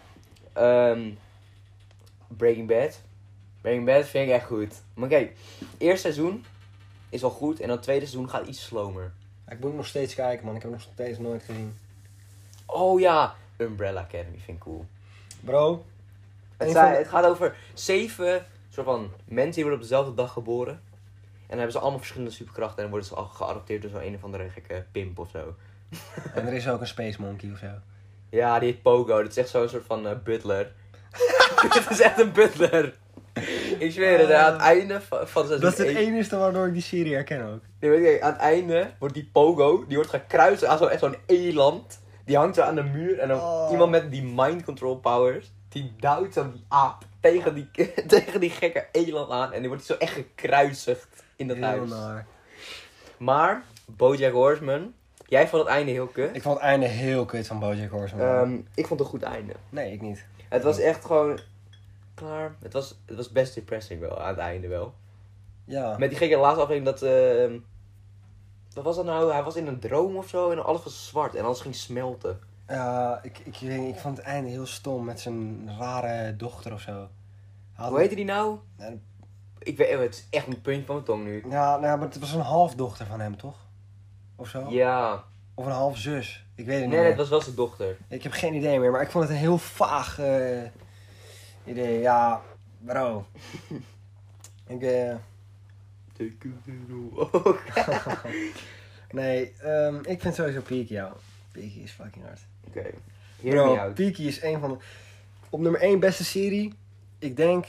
A: ehm, Breaking Bad. Breaking Bad vind ik echt goed. Maar kijk, eerste seizoen is wel goed en dan tweede seizoen gaat iets slomer.
B: Ik moet nog steeds kijken, man. Ik heb nog steeds nooit gezien.
A: Oh ja, Umbrella Academy vind ik cool.
B: Bro.
A: Het,
B: Een
A: zijn-
B: van de-
A: het gaat over zeven soort van mensen die worden op dezelfde dag geboren. En dan hebben ze allemaal verschillende superkrachten en dan worden ze al geadopteerd door zo'n een of andere gekke pimp of zo.
B: En er is ook een Space Monkey of zo.
A: Ja, die heet Pogo. Dat is echt zo'n soort van eh, butler. Dit is echt een butler. Ik zweer het, hè, aan het einde van, van seizoen
B: Ah. Dat is het
A: één-
B: enige waardoor ik die serie herken ook.
A: Nee, weet je, aan het einde wordt die Pogo, die wordt gekruist aan zo'n echt zo'n eland. Die hangt zo aan de muur en dan
B: Oh.
A: iemand met die mind control powers, die duwt zo die aap tegen die, tegen die gekke eland aan. En die wordt zo echt gekruisigd in dat
B: Heel
A: huis.
B: naar.
A: Maar, Bojack Horseman, jij vond het einde heel kut.
B: Ik vond het einde heel kut van Bojack Horseman.
A: Ehm, ik vond het een goed einde.
B: nee, ik niet.
A: Het was echt gewoon klaar. Het was, het was best depressing wel, aan het einde wel.
B: Ja.
A: Met die gekke laatste aflevering dat... ehm, wat was dat nou? Hij was in een droom of zo en alles was zwart en alles ging smelten.
B: Ja, ik, ik, weet niet, ik vond het einde heel stom met zijn rare dochter of zo. Hij had-
A: Hoe heette die nou?
B: Ja.
A: Ik weet oh, het is echt een puntje van mijn tong nu.
B: Ja, nou ja, maar het was een halfdochter van hem, toch? Of zo?
A: Ja.
B: Of een halfzus. Ik weet het niet
A: Nee,
B: meer.
A: dat was wel zijn dochter.
B: Ik heb geen idee meer, maar ik vond het een heel vaag eh, idee. Ja, bro. ik, eh, nee, ehm, ik vind sowieso Peaky jou. Peaky is fucking hard.
A: Oké. Hear me
B: Bro,
A: out.
B: Peaky is een van de... Op nummer 1 beste serie. Ik denk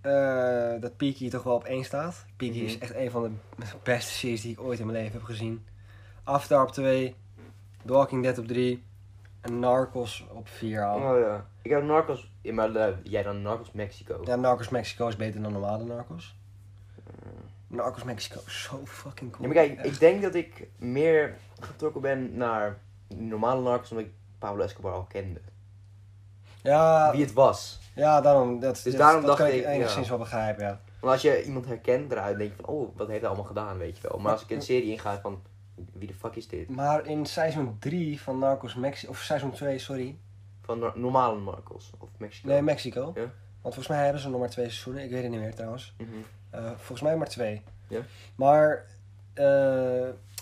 B: eh, dat Peaky toch wel op één staat. Peaky
A: Mhm.
B: is echt een van de beste series die ik ooit in mijn leven heb gezien. Avatar op 2. The Walking Dead op 3. En Narcos op 4 al.
A: Oh ja. Ik heb Narcos. Ja, maar eh, jij dan Narcos Mexico.
B: Ja, Narcos Mexico is beter dan normale Narcos. Narcos Mexico is zo fucking
A: Ja,
B: cool.
A: maar kijk,
B: Echt.
A: ik denk dat ik meer getrokken ben naar normale Narcos omdat ik Pablo Escobar al kende.
B: ja,
A: Wie het was.
B: ja, daarom. Dat, dat-
A: daarom
B: dat
A: dacht
B: kan ik,
A: ik, ja.
B: enigszins wel begrijpen, ja.
A: Want als je iemand herkent eruit, denk je van, oh, wat heeft hij allemaal gedaan, weet je wel. Maar als ik een serie inga van, wie de fuck is dit?
B: Maar in seizoen 3 van Narcos Mexico, of seizoen 2, sorry.
A: Van no- normale Narcos of Mexico.
B: Nee, Mexico.
A: Ja.
B: Want volgens mij hebben ze nog maar twee seizoenen. Ik weet het niet meer trouwens.
A: Mhm.
B: Eh, volgens mij maar twee.
A: Ja.
B: Maar, eh,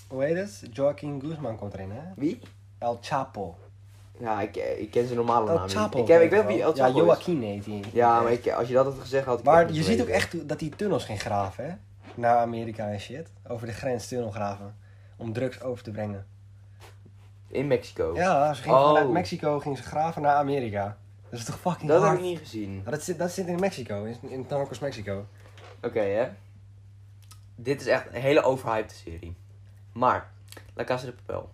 B: hoe heet het? Joaquin Guzman komt erin, hè?
A: Wie?
B: El Chapo.
A: Ja, ik, ik ken zijn normale naam
B: El
A: niet.
B: Chapo.
A: Ik, heb, ik
B: weet
A: weet wie El
B: Ja,
A: Chapo is.
B: Joaquin heet hij.
A: Ja, maar ik, als je dat had gezegd, had ik het
B: Maar
A: niet
B: je ziet ook
A: geweten.
B: echt dat die tunnels geen graven, hè? Naar Amerika en shit. Over de grens tunnel graven. Om drugs over te brengen.
A: In Mexico.
B: Ja, ze gingen
A: Oh.
B: vanuit Mexico gingen ze graven naar Amerika. Dat is toch fucking
A: dat heb
B: hard?
A: ik niet gezien.
B: Ja, dat, zit, dat zit in Mexico, in, in Narcos Mexico.
A: Oké, hè. Dit is echt een hele overhyped serie. Maar, La Casa de Papel.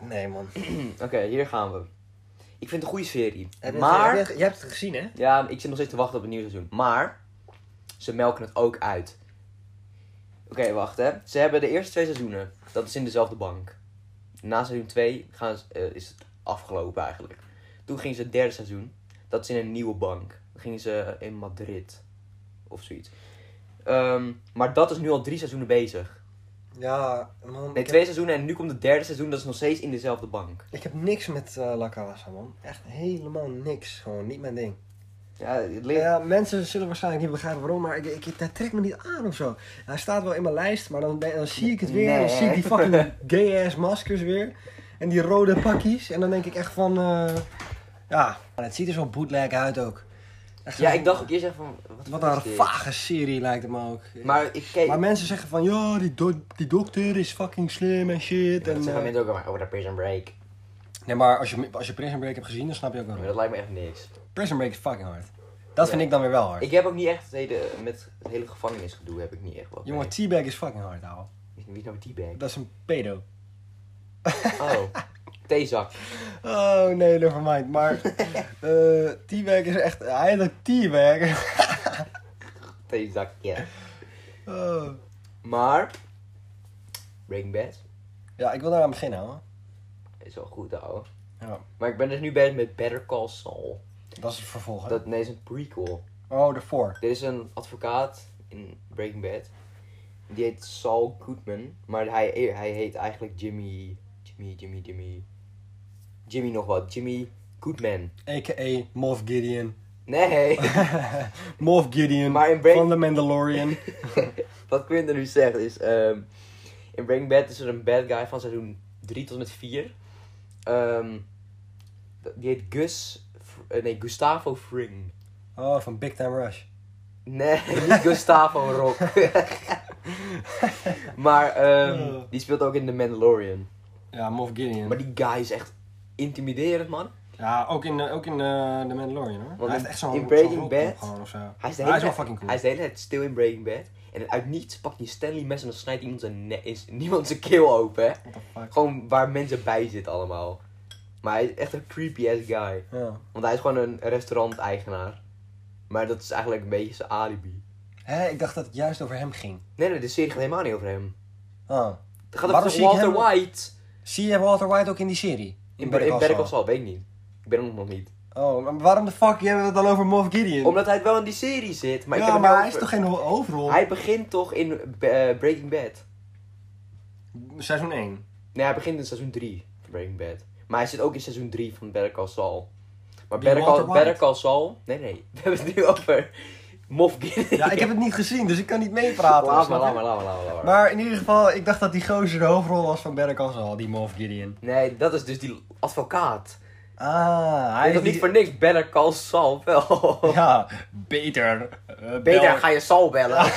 B: Nee, man. Heb
A: Oké, hier gaan we. Ik vind het een goede serie.
B: je het-
A: maar...
B: heb je, het- je hebt het gezien, hè?
A: Ja, ik zit nog steeds te wachten op een nieuw seizoen. Maar ze melken het ook uit. Oké, wacht hè. Ze hebben de eerste twee seizoenen. Dat is in dezelfde bank. Na seizoen 2 gaan ze, eh, is het afgelopen eigenlijk. Toen gingen ze het derde seizoen. Dat is in een nieuwe bank. Dan gingen ze eh, in Madrid. Of zoiets. Ehm, maar dat is nu al drie seizoenen bezig.
B: Ja, man.
A: Nee,
B: ik,
A: twee
B: heb,
A: seizoenen en nu komt het derde seizoen. Dat is nog steeds in dezelfde bank.
B: ik heb niks met eh La Casa, man. Echt helemaal niks. Gewoon niet mijn ding.
A: Ja, het ligt...
B: Ja, mensen zullen waarschijnlijk niet begrijpen waarom, maar ik, ik, dat trekt me niet aan of zo. Hij staat wel in mijn lijst, maar dan, ben- dan zie ik het weer. en Dan zie ik die fucking gay-ass maskers weer. En die rode pakjes. En dan denk ik echt van, eh, ja. Maar het ziet er zo bootleg uit ook. Echt
A: Ja,
B: zo-
A: ik dacht ook eerst echt van... Wat,
B: Wat
A: is
B: een
A: dit?
B: vage serie lijkt het me ook.
A: Maar ik keek...
B: Maar mensen zeggen van, ja, die, do- die dokter is fucking slim en shit.
A: Ja,
B: en,
A: dat zeggen
B: eh,
A: mensen ook allemaal, oh, dat Prison Break.
B: nee, maar als je, als je Prison Break hebt gezien, dan snap je ook wel.
A: Maar dat lijkt me echt niks.
B: Prison Break is fucking hard. Dat vind
A: Ja.
B: ik dan weer wel hard.
A: Ik heb ook niet echt het hele, met het hele gevangenisgedoe heb ik niet echt wat. mee.
B: Jongen, T-Bag is fucking hard, ouwe.
A: Wie is nou teabag?
B: Dat is een pedo.
A: Oh, theezak.
B: Oh nee, nevermind. Maar eh T-Bag is echt. Hij heet ook T-Bag.
A: Theezak, ja.
B: Oh.
A: Maar, Breaking Bad
B: Ja, ik wil daar aan beginnen hoor.
A: is wel goed, ouwe.
B: Ja.
A: Maar ik ben dus nu bezig met Better Call Saul.
B: Dat is het vervolg. hè?
A: Dat nee, is een prequel.
B: Oh, daarvoor.
A: Dit is een advocaat in Breaking Bad. Die heet Saul Goodman. Maar hij, hij heet eigenlijk Jimmy... Jimmy, Jimmy, Jimmy... Jimmy nog wat. Jimmy Goodman.
B: A.k.a. Moff Gideon.
A: Nee.
B: Moff Gideon
A: Maar in Break-
B: van The Mandalorian.
A: Wat Quinten nu zegt is... ehm, in Breaking Bad is er een bad guy van seizoen 3 tot en met 4. Ehm, d- die heet Gus... Fr- eh, nee, Gustavo Fring.
B: Oh, van Big Time Rush.
A: Nee, niet Gustavo Rock. maar
B: Oh.
A: ehm, die speelt ook in The Mandalorian.
B: Ja, Moff Gideon.
A: Maar die guy is echt intimiderend, man.
B: Ja, ook in, eh, ook in eh, The Mandalorian hoor. hij
A: in-
B: heeft echt zo'n
A: in Breaking
B: zo'n
A: Bad-
B: gewoon of zo.
A: Hij is, de
B: Maar hij
A: hele
B: is wel
A: tijd-
B: fucking cool.
A: hij is de hele tijd stil in Breaking Bad. En uit niets pakt hij een Stanley mes en dan snijdt iemand zijn, ne- is niemand zijn keel open, hè.
B: What the fuck.
A: Gewoon waar mensen bij zitten allemaal. Maar hij is echt een creepy ass guy.
B: Ja.
A: Want hij is gewoon een restaurant-eigenaar. Maar dat is eigenlijk een beetje zijn alibi.
B: Hé, ik dacht dat het juist over hem ging.
A: Nee, nee, de serie gaat helemaal niet over hem.
B: Oh.
A: Het gaat
B: Waarom
A: over
B: zie ik
A: Walter
B: hem-
A: White.
B: Zie je Walter White ook in die serie?
A: In,
B: Better
A: Ber- in
B: Call
A: Better
B: Saul?
A: Call Saul, weet ik niet. Ik ben hem nog niet.
B: Oh, maar waarom de fuck hebben we het dan over Moff Gideon?
A: Omdat hij wel in die serie zit. Maar, ik
B: ja,
A: heb het
B: maar
A: nu
B: hij is
A: over-
B: toch geen ho- hoofdrol?
A: Hij begint toch in eh, Breaking Bad.
B: Seizoen 1.
A: Nee, hij begint in seizoen 3 van Breaking Bad. Maar hij zit ook in seizoen 3 van Better Call Saul. Maar
B: Wie,
A: Better Call,
B: Walter White?
A: Better Call Saul... Nee, nee. We hebben het nu over Moff Gideon.
B: Ja, ik heb het niet gezien, dus ik kan niet meepraten.
A: Laat maar,
B: snap
A: laat
B: je?
A: maar, laat maar, laat maar, laat maar.
B: Maar in ieder geval, ik dacht dat die gozer de hoofdrol was van Better Call Saul, die Moff Gideon.
A: Nee, dat is dus die advocaat.
B: Ah,
A: Hij is
B: hij is
A: toch niet
B: die-
A: voor niks Better Call Saul wel.
B: Ja, beter. eh,
A: Beter
B: bel-
A: ga je Saul bellen.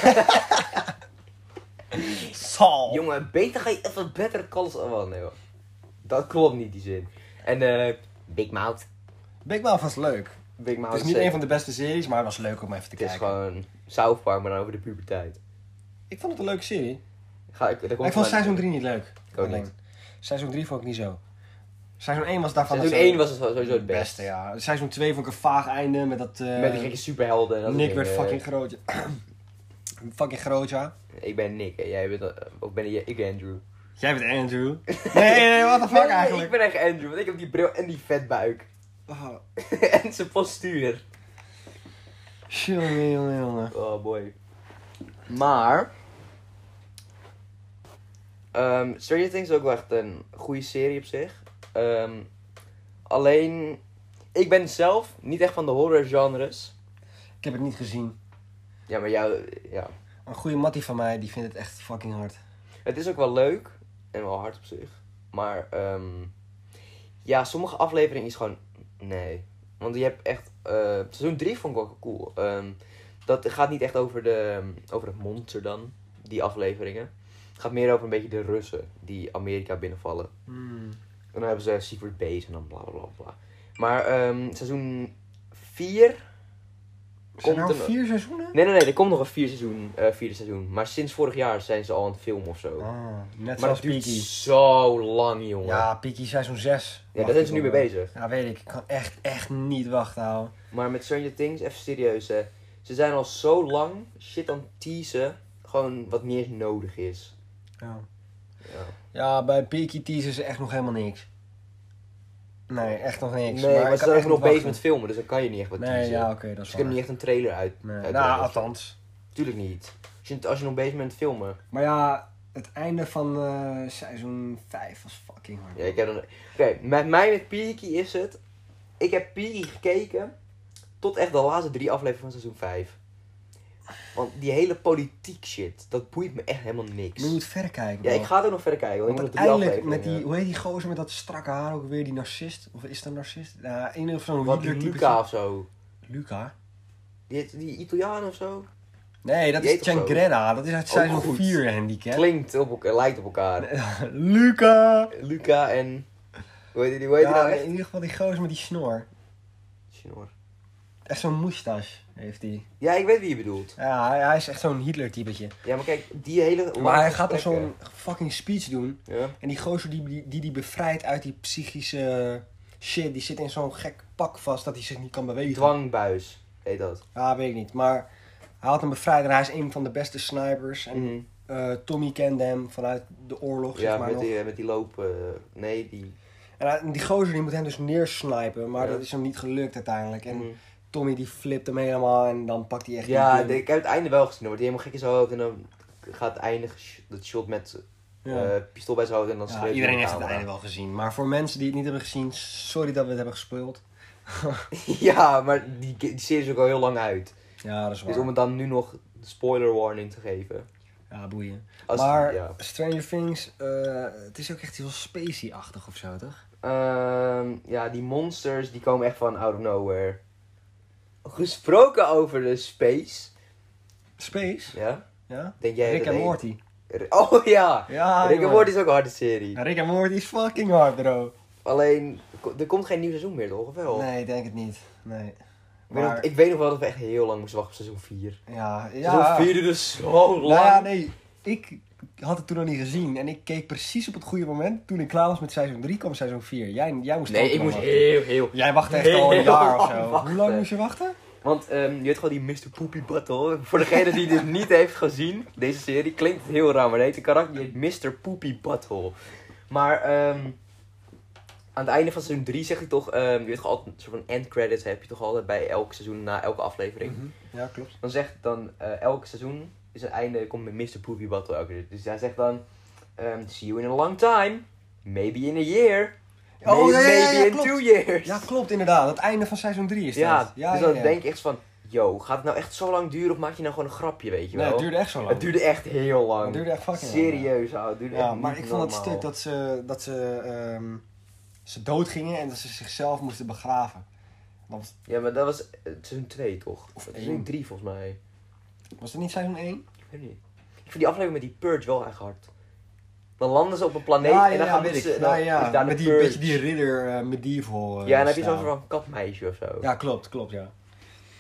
B: Sal.
A: Jongen, beter ga je even better calls. Oh, wel, nee, hoor. Dat klopt niet, die zin. En eh, Big Mouth.
B: Big Mouth was leuk.
A: Big Mouth
B: Het is niet een van de beste series, maar het was leuk om even te
A: Oh, Het is
B: kijken.
A: gewoon South Park, maar dan over de puberteit.
B: Ik vond het een leuke serie.
A: Ga ik, daar
B: Maar
A: komt
B: ik vond
A: wel-
B: seizoen 3 niet leuk.
A: Ik ook niet.
B: Seizoen 3 vond ik niet zo. Seizoen 1 was daarvan
A: Seizoen
B: het
A: 1 was het sowieso het beste.
B: beste, ja. Seizoen 2 vond ik een vaag einde met dat... eh,
A: Met die gekke superhelden. en dat eh,
B: Nick
A: soort
B: werd
A: dingen.
B: fucking groot. ja. fucking groot, ja.
A: Ik ben Nick en jij bent... eh, Of ben ik, ik ben Andrew.
B: Jij bent Andrew. Nee, nee, nee, what the
A: Nee,
B: fuck
A: nee,
B: eigenlijk.
A: Ik ben echt Andrew, want ik heb die bril en die vetbuik.
B: Oh,
A: en zijn postuur.
B: jongen, jongen, jongen.
A: Oh boy. Maar... ehm, Stranger Things is ook wel echt een goede serie op zich. Ehm, alleen... Ik ben zelf niet echt van de horror genres.
B: Ik heb het niet gezien.
A: Ja, maar jou... Ja.
B: Een goede mattie van mij, die vindt het echt fucking hard.
A: Het is ook wel leuk en wel hard op zich. Maar ehm, ja, sommige afleveringen is gewoon nee. Want je hebt echt. eh, seizoen 3 vond ik wel cool. Ehm, dat gaat niet echt over, de, over het monster dan, die afleveringen. Het gaat meer over een beetje de Russen die Amerika binnenvallen.
B: Hmm.
A: En dan hebben ze Secret Base en dan bla bla bla. bla. Maar ehm, seizoen 4.
B: Zijn er al
A: een...
B: vier seizoenen?
A: Nee, nee, nee, er komt nog een vier seizoen, eh, vierde seizoen. Maar sinds vorig jaar zijn ze al aan het filmen of zo.
B: Ah, net
A: Maar dat
B: zoals
A: duurt
B: Peaky.
A: zo lang, jongen. Ja,
B: Ja, Peaky seizoen 6.
A: daar zijn ze nu mee bezig.
B: Ja, weet ik. Ik kan echt, echt niet wachten, ouwe.
A: Maar met Stranger Things, even serieus, hè. Ze zijn al zo lang shit aan het teasen. Gewoon wat meer nodig is.
B: Ja.
A: Ja.
B: ja, bij Peaky teasen ze echt nog helemaal niks. Nee, echt nog niks.
A: nee, maar ze
B: ik kan
A: zijn ook
B: echt
A: nog
B: niet
A: bezig met
B: wachten.
A: filmen, dus dan kan je niet echt wat
B: Nee,
A: teasen.
B: ja, oké, dat
A: Ze
B: is
A: kunnen
B: waar.
A: niet echt een trailer uit.
B: Nee,
A: uitbrengen
B: nou,
A: of zo.
B: althans.
A: Tuurlijk niet. Als je, als je nog bezig bent met filmen.
B: Maar ja, het einde van eh, seizoen 5 was fucking hard.
A: Ja, ik heb dan... Oké, met mij met Peaky is het... Ik heb Peaky gekeken tot echt de laatste drie afleveringen van seizoen 5. Want die hele politiek shit, dat boeit me echt helemaal niks.
B: Maar je moet verder kijken.
A: Ja,
B: bro.
A: ik ga het ook nog verder kijken. Want
B: Want
A: ik moet nog drie
B: uiteindelijk met die,
A: afleveringen.
B: hoe heet die gozer met dat strakke haar ook weer, die narcist? Of is dat een narcist? Ja, een of zo'n
A: Wat,
B: Hitler-type
A: Luca of zo.
B: vent. Luca?
A: Die, heet- die Italiaan of zo.
B: Nee, dat
A: Die
B: is
A: heet toch zo?
B: Changrena. Dat is uit
A: Ook
B: seizoen
A: goed.
B: 4 handicap.
A: Klinkt op elkaar, lijkt op elkaar.
B: Luca!
A: Luca en... Hoe heet die, hoe heet die
B: Ja,
A: nou
B: in
A: echt?
B: ieder geval die gozer met die snor.
A: Snor.
B: Echt zo'n moustache heeft hij.
A: Ja, ik weet wie je bedoelt.
B: Ja, hij- hij is echt zo'n Hitler-typetje.
A: Ja, maar kijk, die hele...
B: Maar hij gaat dan zo'n
A: gesprekken.
B: fucking speech doen.
A: Ja?
B: En die gozer die die, die die bevrijdt uit die psychische shit, die zit in zo'n gek pak vast dat hij zich niet kan bewegen.
A: Dwangbuis heet dat.
B: Ja, weet ik niet. Maar hij had hem bevrijd en hij is een van de beste snipers. En
A: Mhm.
B: eh, Tommy kende hem vanuit de oorlog,
A: Ja,
B: zeg maar
A: met
B: nog.
A: die, met die loop... eh, nee, die...
B: En hij- en die gozer die moet hem dus neersnipen, maar
A: Ja.
B: dat is hem niet gelukt uiteindelijk. En
A: Mhm.
B: Tommy die flipt hem helemaal en dan pakt hij echt eh,
A: Ja,
B: die gun.
A: ik heb het einde wel gezien. Dan wordt hij helemaal gek in zijn hoofd en dan gaat het einde... gesh- Dat shot met
B: Ja.
A: eh, pistool bij zijn hoofd en dan
B: Ja,
A: schreeuwt hij in
B: iedereen
A: de
B: heeft het
A: camera.
B: einde wel gezien. Maar voor mensen die het niet hebben gezien, sorry dat we het hebben gespeeld.
A: Ja, maar die, die serie is ook al heel lang uit.
B: Ja, dat is waar.
A: Dus om het dan nu nog de spoiler warning te geven.
B: Ja, boeien.
A: Als,
B: maar
A: Ja.
B: Stranger Things, eh, het is ook echt heel spacey-achtig of zo, toch?
A: Ehm, ja, die monsters die komen echt van out of nowhere. Gesproken over de space.
B: Space?
A: Ja?
B: Ja.
A: Denk jij
B: Rick
A: dat
B: en
A: een-
B: Morty.
A: R- Oh ja!
B: Ja,
A: Rick en
B: jongen.
A: Morty is ook een harde serie.
B: Rick en Morty is fucking hard, bro.
A: Alleen, ko- er komt geen nieuw seizoen meer, toch? Of wel?
B: Nee, ik denk het niet. Nee.
A: Ik weet nog-
B: Maar,
A: Ik weet nog wel dat we echt heel lang moesten wachten op seizoen 4.
B: ja, ja.
A: Seizoen 4 duurde zo lang.
B: Nou ja, nee. Ik had het toen nog niet gezien. En ik keek precies op het goede moment. Toen ik klaar was met seizoen 3, kwam seizoen 4. Jij, jij moest
A: Nee,
B: ook
A: ik
B: nog
A: moest
B: wachten.
A: heel, heel...
B: Jij wacht echt al een
A: heel
B: jaar of
A: lang
B: zo.
A: wachten.
B: Hoe lang moest je wachten?
A: Want ehm, je weet gewoon die Mr. Poopy Butthole. Voor degene die dit niet heeft gezien, deze serie, klinkt het heel raar, maar nee, de karakter heet Mr. Poopy Butthole. Maar ehm, aan het einde van seizoen 3 zeg ik toch, ehm, je weet toch altijd, een soort van end credits heb je toch altijd bij elk seizoen, na elke aflevering.
B: Ja, klopt.
A: Dan zegt dan, eh, elk seizoen is het einde, komt met Mr. Poopy Butthole elke keer. Dus hij zegt dan, ehm, see you in a long time, maybe in a year,
B: Oh,
A: may-
B: ja, ja, ja, ja,
A: maybe in
B: klopt.
A: two years.
B: Ja, klopt inderdaad. Het einde van seizoen 3 is dat.
A: Ja, dus dan
B: ja.
A: denk ik echt van, yo, gaat het nou echt zo lang duren of maak je nou gewoon een grapje, weet je
B: Nee,
A: wel?
B: het duurde echt zo lang.
A: Het duurde echt heel lang.
B: Het duurde echt fucking lang,
A: Serieus, ouwe, het duurde
B: Ja,
A: echt
B: maar
A: niet
B: ik vond het
A: normaal.
B: stuk dat ze, dat ze, ehm, ze dood gingen en dat ze zichzelf moesten begraven. Want,
A: Ja, maar dat was eh, seizoen 2 toch? Of
B: Of
A: seizoen
B: één.
A: 3 volgens mij.
B: was dat niet seizoen 1?
A: Ik weet niet. Ik vind die aflevering met die Purge wel echt hard. Dan landen ze op een planeet en dan gaan mensen... en dan
B: Nou ja,
A: is daar de
B: met die,
A: Purge.
B: beetje die ridder eh, medieval. eh,
A: Ja, en dan heb je
B: stijl.
A: zo'n soort van katmeisje of zo.
B: Ja, klopt, klopt, ja.
A: En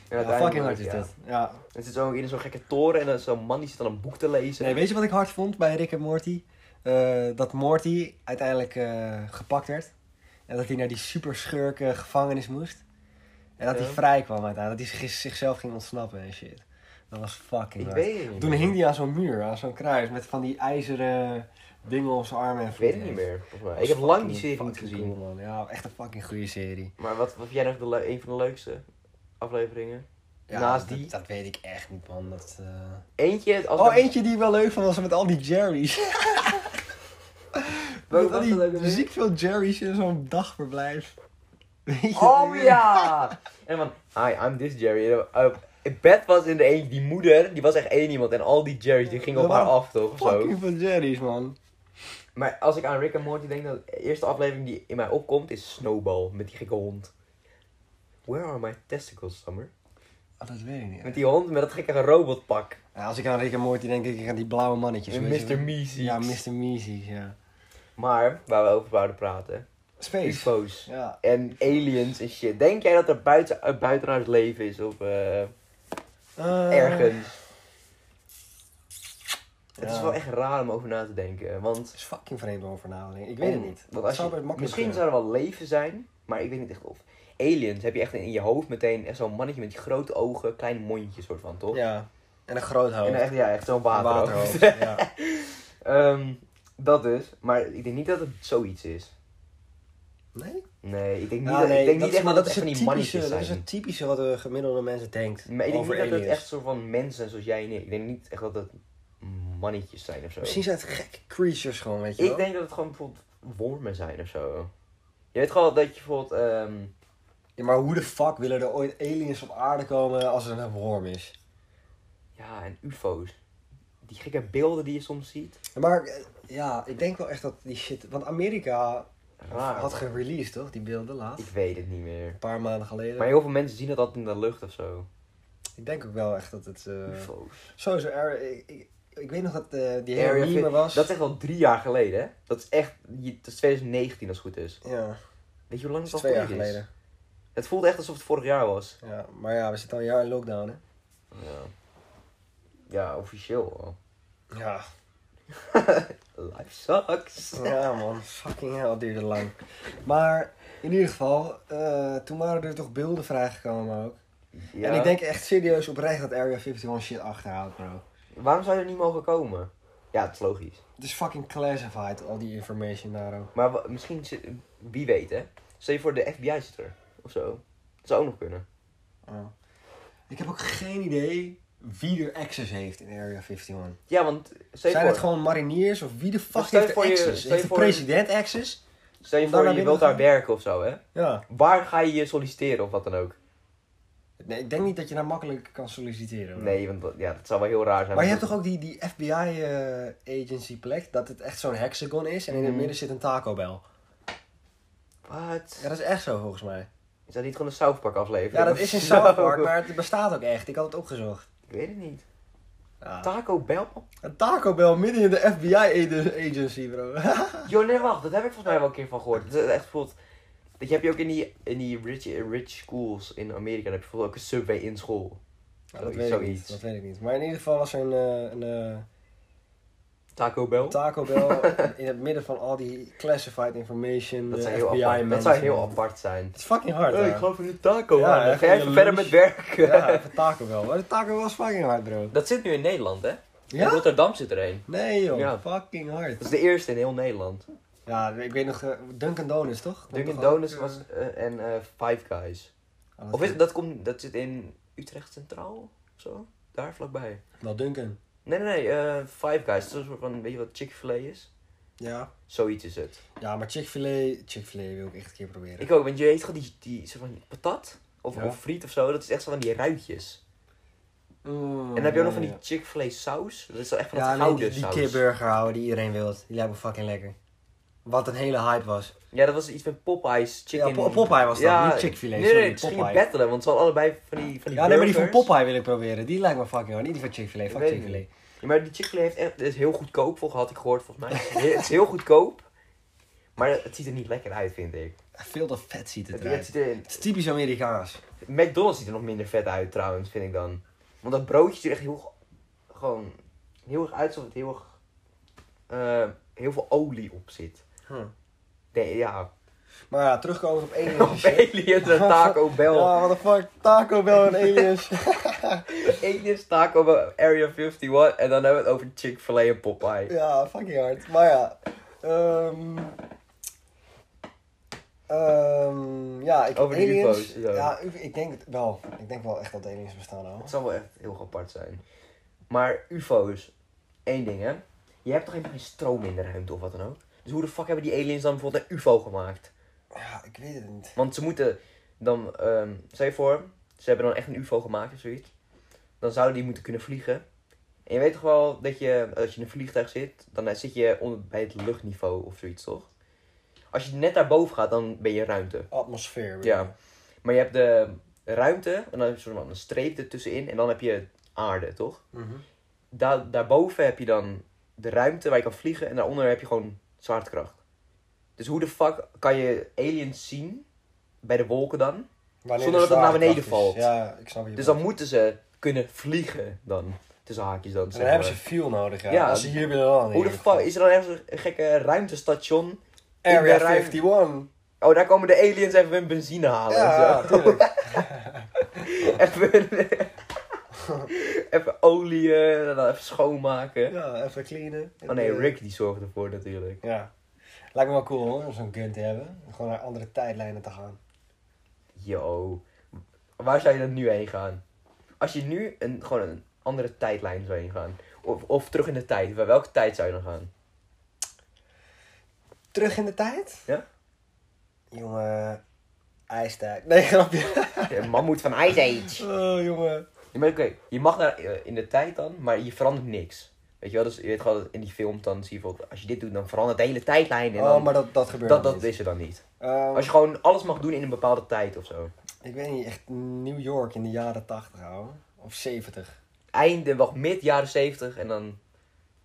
B: Ja,
A: uiteindelijk-
B: fucking hard is
A: ja.
B: dit. Ja.
A: En zit zo in zo'n gekke toren en dan is zo'n man die zit dan een boek te lezen.
B: Nee, weet je wat ik hard vond bij Rick en Morty? Eh, dat Morty uiteindelijk eh, gepakt werd. En dat hij naar die superschurk eh, gevangenis moest. En dat
A: Ja.
B: hij vrij kwam uiteindelijk. Dat hij zich- zichzelf ging ontsnappen en shit. Dat was fucking
A: ik
B: hard.
A: weet het niet
B: Toen
A: meer.
B: hing hij aan zo'n muur, aan zo'n kruis. Met van die ijzeren dingen om zijn armen en
A: Ik weet het
B: voeten
A: niet
B: heen.
A: meer, volgens mij.
B: Dat
A: Ik heb
B: was
A: lang die
B: fucking-
A: serie niet
B: fucking
A: gezien.
B: cool, man. Ja, echt een fucking goede serie.
A: Maar wat, wat vind jij nog de le- een van de leukste afleveringen?
B: Ja,
A: Naast
B: dat-
A: die.
B: Dat, weet ik echt niet, man. Dat, eh,
A: Eentje, als
B: Oh,
A: we-
B: eentje die ik wel leuk vond was met al die Jerry's.
A: Welke
B: Met
A: was
B: al
A: dat ook
B: die
A: alweer?
B: ziek veel Jerry's in zo'n dagverblijf. Weet je
A: Oh
B: weer?
A: ja! En dan van, hi, I'm this Jerry. En dan, eh, Beth was in de eentje, die moeder, die was echt één iemand. En al die Jerry's, die gingen op
B: Dat
A: haar
B: waren
A: af, toch? Of zo.
B: Fucking veel Jerry's, man.
A: Maar als ik aan Rick en Morty denk, dan de eerste aflevering die in mij opkomt is Snowball, met die gekke hond. Where are my testicles, Summer?
B: Oh, dat weet ik niet.
A: Met die hond, met dat gekke robotpak.
B: Ja, als ik aan Rick en Morty denk, denk ik aan die blauwe mannetjes.
A: En
B: weet je
A: Mr.
B: wel.
A: Meezy.
B: Ja, Mr. Meezy, ja.
A: Maar, waar we over wouden praten.
B: Space.
A: UFO's.
B: Ja.
A: En aliens en shit. Denk jij dat er buiten, eh, buitenaards leven is of eh,
B: Eh,
A: ergens? Het is
B: ja.
A: wel echt raar om over na te denken. Want,
B: Het is fucking vreemd om over na te denken. Ik weet het niet.
A: Want
B: Het
A: als
B: Oh, zou
A: je-
B: best makkelijk
A: misschien
B: kunnen.
A: zou er wel leven zijn, maar ik weet niet echt of. Aliens heb je echt in je hoofd meteen echt zo'n mannetje met die grote ogen, klein mondje soort van, toch?
B: Ja. En een groot hoofd.
A: En echt, ja, echt zo'n
B: Een
A: waterhoofd.
B: waterhoofd. ja.
A: Ehm, dat dus, maar ik denk niet dat het zoiets is.
B: Nee?
A: Nee, ik denk niet,
B: Ja,
A: dat-
B: Nou, nee,
A: ik denk
B: dat
A: niet
B: is-
A: echt
B: maar
A: dat
B: dat
A: het
B: is
A: echt van
B: het
A: die mannetjes
B: typische, dat
A: zijn.
B: is het typische wat de gemiddelde mensen denkt
A: Maar ik denk
B: over
A: niet dat
B: aliens.
A: het echt zo van mensen zoals jij en ik. Ik denk niet echt dat het mannetjes zijn of zo.
B: Misschien zijn het gekke creatures gewoon, weet je
A: ik
B: wel.
A: denk dat het gewoon bijvoorbeeld wormen zijn of zo. Je weet gewoon dat je bijvoorbeeld. ehm,
B: Ja, maar hoe de fuck willen er ooit aliens op aarde komen als er een worm is?
A: ja, en UFO's. Die gekke beelden die je soms ziet.
B: Maar eh, ja, ik denk wel echt dat die shit... Want Amerika
A: Raar.
B: had gereleased, toch? Die beelden laat.
A: Ik weet het niet meer.
B: Een paar maanden geleden.
A: Maar heel veel mensen zien dat altijd in de lucht of zo.
B: Ik denk ook wel echt dat het... eh
A: UFO's.
B: sowieso, er, ik, ik, ik weet nog dat eh, die
A: Area
B: hele meme
A: fif-
B: was.
A: Dat is echt al drie jaar geleden, hè? Dat is echt. je- Dat is 2019 als het goed is.
B: Ja, dat
A: Weet je hoe lang
B: is
A: het al
B: twee jaar
A: geleden is?
B: geleden.
A: Het voelt echt alsof het vorig jaar was.
B: Ja, maar ja, we zitten al een jaar in lockdown, hè?
A: Ja, ja officieel al.
B: Ja.
A: Life sucks.
B: Ja man, fucking hell, het duurde lang. Maar in ieder geval, eh, toen waren er toch beelden vrijgekomen ook. En ik denk echt serieus oprecht dat Area 51 shit achterhaalt, bro.
A: Waarom zou je er niet mogen komen? Ja, het is logisch.
B: Het is fucking classified, al die information daar ook.
A: Maar wa- misschien, zit- wie weet hè. Stel je voor, de FBI zit er. Of zo. Dat zou ook nog kunnen.
B: Ja. Ik heb ook geen idee wie er access heeft in Area 51.
A: Ja, want stel je
B: Zijn
A: voor,
B: het gewoon mariniers of wie de
A: Maar
B: fuck
A: stel je
B: heeft
A: voor
B: er
A: je-
B: access?
A: stel je
B: heeft de
A: voor-
B: president access?
A: stel je,
B: daar
A: voor
B: naar
A: je
B: binnen
A: wilt daar
B: gaan?
A: werken of zo hè.
B: Ja.
A: Waar ga je je solliciteren of wat dan ook?
B: Nee, ik denk niet dat je daar makkelijk kan solliciteren. hoor.
A: Nee, want dat- ja, dat zou wel heel raar zijn.
B: Maar je hebt toch ook die, die FBI-agency eh, plek, dat het echt zo'n hexagon is en in het
A: Mhm.
B: midden zit een Taco Bell.
A: Wat?
B: Ja, dat is echt zo volgens mij.
A: Is dat niet gewoon een South Park aflevering?
B: Ja, dat is in
A: Zo.
B: South Park, maar het bestaat ook echt. Ik had het opgezocht.
A: Ik weet het niet.
B: Ja.
A: Taco Bell?
B: Een Taco Bell midden in de FBI-agency, bro.
A: Jo, nee, wacht. Dat heb ik volgens mij wel een keer van gehoord. Dat is echt bijvoorbeeld... Dat heb je ook in die, in die rich, rich schools in Amerika. Dan heb je bijvoorbeeld ook een Subway in school.
B: Ja, dat, weet ik niet, dat weet ik niet. Maar in ieder geval was er een, eh, een eh,
A: Taco Bell?
B: Taco Bell in het midden van al die classified information,
A: dat,
B: eh,
A: zijn
B: FBI
A: heel apart. dat
B: mensen.
A: zou heel apart zijn.
B: Het is fucking hard,
A: Hey,
B: hè.
A: ik geloof in een taco.
B: Ja,
A: man. Dan
B: echt
A: ga jij
B: een
A: even verder met
B: lunch.
A: werken.
B: Ja, even Taco Bell. Maar de Taco Bell is fucking hard, bro.
A: Dat zit nu in Nederland, hè? In
B: Ja?
A: Rotterdam zit er een.
B: Nee, joh.
A: Ja.
B: Fucking hard.
A: Dat is de eerste in heel Nederland.
B: Ja, ik weet nog, eh, Dunkin' Donuts toch? Komt
A: Dunkin'
B: toch ook, Ah,
A: Donuts
B: eh,
A: was, eh, en eh, Five Guys.
B: aan het-
A: Of is, dat, komt, dat zit in Utrecht Centraal? Of zo? Daar vlakbij.
B: Wel Dunkin'.
A: Nee, nee, nee. eh, Five Guys. Dat is een soort van, weet je wat Chick-fil-A is?
B: Ja.
A: Zoiets is het.
B: Ja, maar Chick-fil-A, Chick-fil-A wil ik echt een keer proberen.
A: Ik ook, want je weet gewoon die, die soort van patat of,
B: Ja.
A: of friet of zo, dat is echt zo van die ruitjes.
B: Mm,
A: en dan heb je ook nog van
B: ja,
A: die Chick-fil-A saus, dat is wel echt van
B: Ja,
A: dat
B: nee,
A: gouden
B: die, die
A: saus.
B: kipburger houden die iedereen wil. Die lijkt me fucking lekker. Wat een hele hype was.
A: Ja, dat was iets met Popeye's chicken.
B: Ja, Po- Popeye was dat, niet Chick-fil-A,
A: Nee,
B: sorry,
A: nee, ze gingen
B: Popeye.
A: battelen, want ze hadden allebei van die van die
B: ja, nee, maar die van
A: burgers.
B: Popeye wil ik proberen. Die lijkt me fucking hard. Niet die van Chick-fil-A. Fuck
A: weet het
B: Chick-fil-A.
A: Ja, maar die Chick-fil-A heeft echt, het is heel goedkoop, volgens had ik gehoord volgens mij. het is heel goedkoop, maar het ziet er niet lekker uit, vind ik.
B: Veel te vet ziet het
A: Het,
B: eruit.
A: het ziet er,
B: Het is typisch Amerikaans.
A: McDonald's ziet er nog minder vet uit trouwens, vind ik dan. Want dat broodje ziet er echt heel, gewoon, heel erg uit alsof het heel erg, eh, heel veel olie op zit.
B: Huh.
A: Nee, ja,
B: Maar ja, terugkomen op aliens.
A: op aliens en Taco Bell.
B: Ja, what the fuck. Taco Bell en aliens.
A: Aliens, Taco Bell, Area 51 en dan hebben we het over Chick-fil-A en Popeye.
B: ja, fucking hard. Maar ja. ehm, ehm, ja, ik
A: Over de
B: aliens.
A: UFO's, ja.
B: Ja, u- ik denk het wel. Ik denk wel echt dat aliens bestaan al.
A: Het zal wel echt heel apart zijn. Maar UFO's, één ding hè. Je hebt toch helemaal geen stroom in de ruimte of wat dan ook? Dus hoe de fuck hebben die aliens dan bijvoorbeeld een UFO gemaakt?
B: Ja, ik weet het niet.
A: Want ze moeten dan, ehm stel je voor, ze hebben dan echt een UFO gemaakt of zoiets. Dan zouden die moeten kunnen vliegen. En je weet toch wel dat je, als je in een vliegtuig zit, dan eh, zit je onder, bij het luchtniveau of zoiets toch? Als je net daarboven gaat, dan ben je ruimte.
B: Atmosfeer. bedoel
A: Ja. Maar je hebt de ruimte, en dan heb je soort van een streep ertussenin, en dan heb je aarde, toch?
B: je. Mhm.
A: Da daarboven heb je dan de ruimte waar je kan vliegen, en daaronder heb je gewoon zwaartekracht. Dus hoe de fuck kan je aliens zien, bij de wolken dan?
B: Wanneer
A: Zonder
B: de
A: dat het naar beneden
B: zwaartekracht is.
A: valt.
B: Ja, ik snap je.
A: Dus
B: punt.
A: dan moeten ze kunnen vliegen dan, tussen haakjes dan.
B: En
A: zeg
B: dan
A: maar.
B: hebben ze fuel nodig, ja.
A: Ja.
B: Als ze hier willen landen.
A: Hoe de
B: hier.
A: fuck, is er dan ergens een gekke ruimtestation? in
B: Area
A: de ruimte?
B: 51.
A: Oh, daar komen de aliens even hun benzine halen
B: Ja,
A: en zo.
B: tuurlijk.
A: Even, even olie, eh, en dan even schoonmaken.
B: Ja, even cleanen.
A: Oh nee, Rick die zorgt ervoor natuurlijk.
B: Ja. Lijkt me wel cool hoor, om zo'n gun te hebben. Om Gewoon naar andere tijdlijnen te gaan.
A: Yo, waar zou je dan nu heen gaan? Als je nu een, gewoon een andere tijdlijn zou heen gaan. Of, of terug in de tijd. Bij welke tijd zou je dan gaan?
B: Terug in de tijd?
A: Ja.
B: Jongen, ijstijd. Nee, grapje.
A: De mammoet van Ice Age.
B: Oh, jongen.
A: Ja, maar oké, je mag naar eh, in de tijd dan, maar je verandert niks. Weet je wel, dus je weet gewoon dat in die film dan zie je bijvoorbeeld, als je dit doet, dan verandert de hele tijdlijn. En
B: Oh,
A: dan,
B: maar dat, dat gebeurt
A: dat,
B: nog
A: dat
B: niet.
A: is er dan niet.
B: Ehm,
A: Als je gewoon alles mag doen in een bepaalde tijd of zo.
B: Ik weet niet, echt New York in de jaren 80 ouwe. Of 70.
A: einde, wacht mid jaren 70 en dan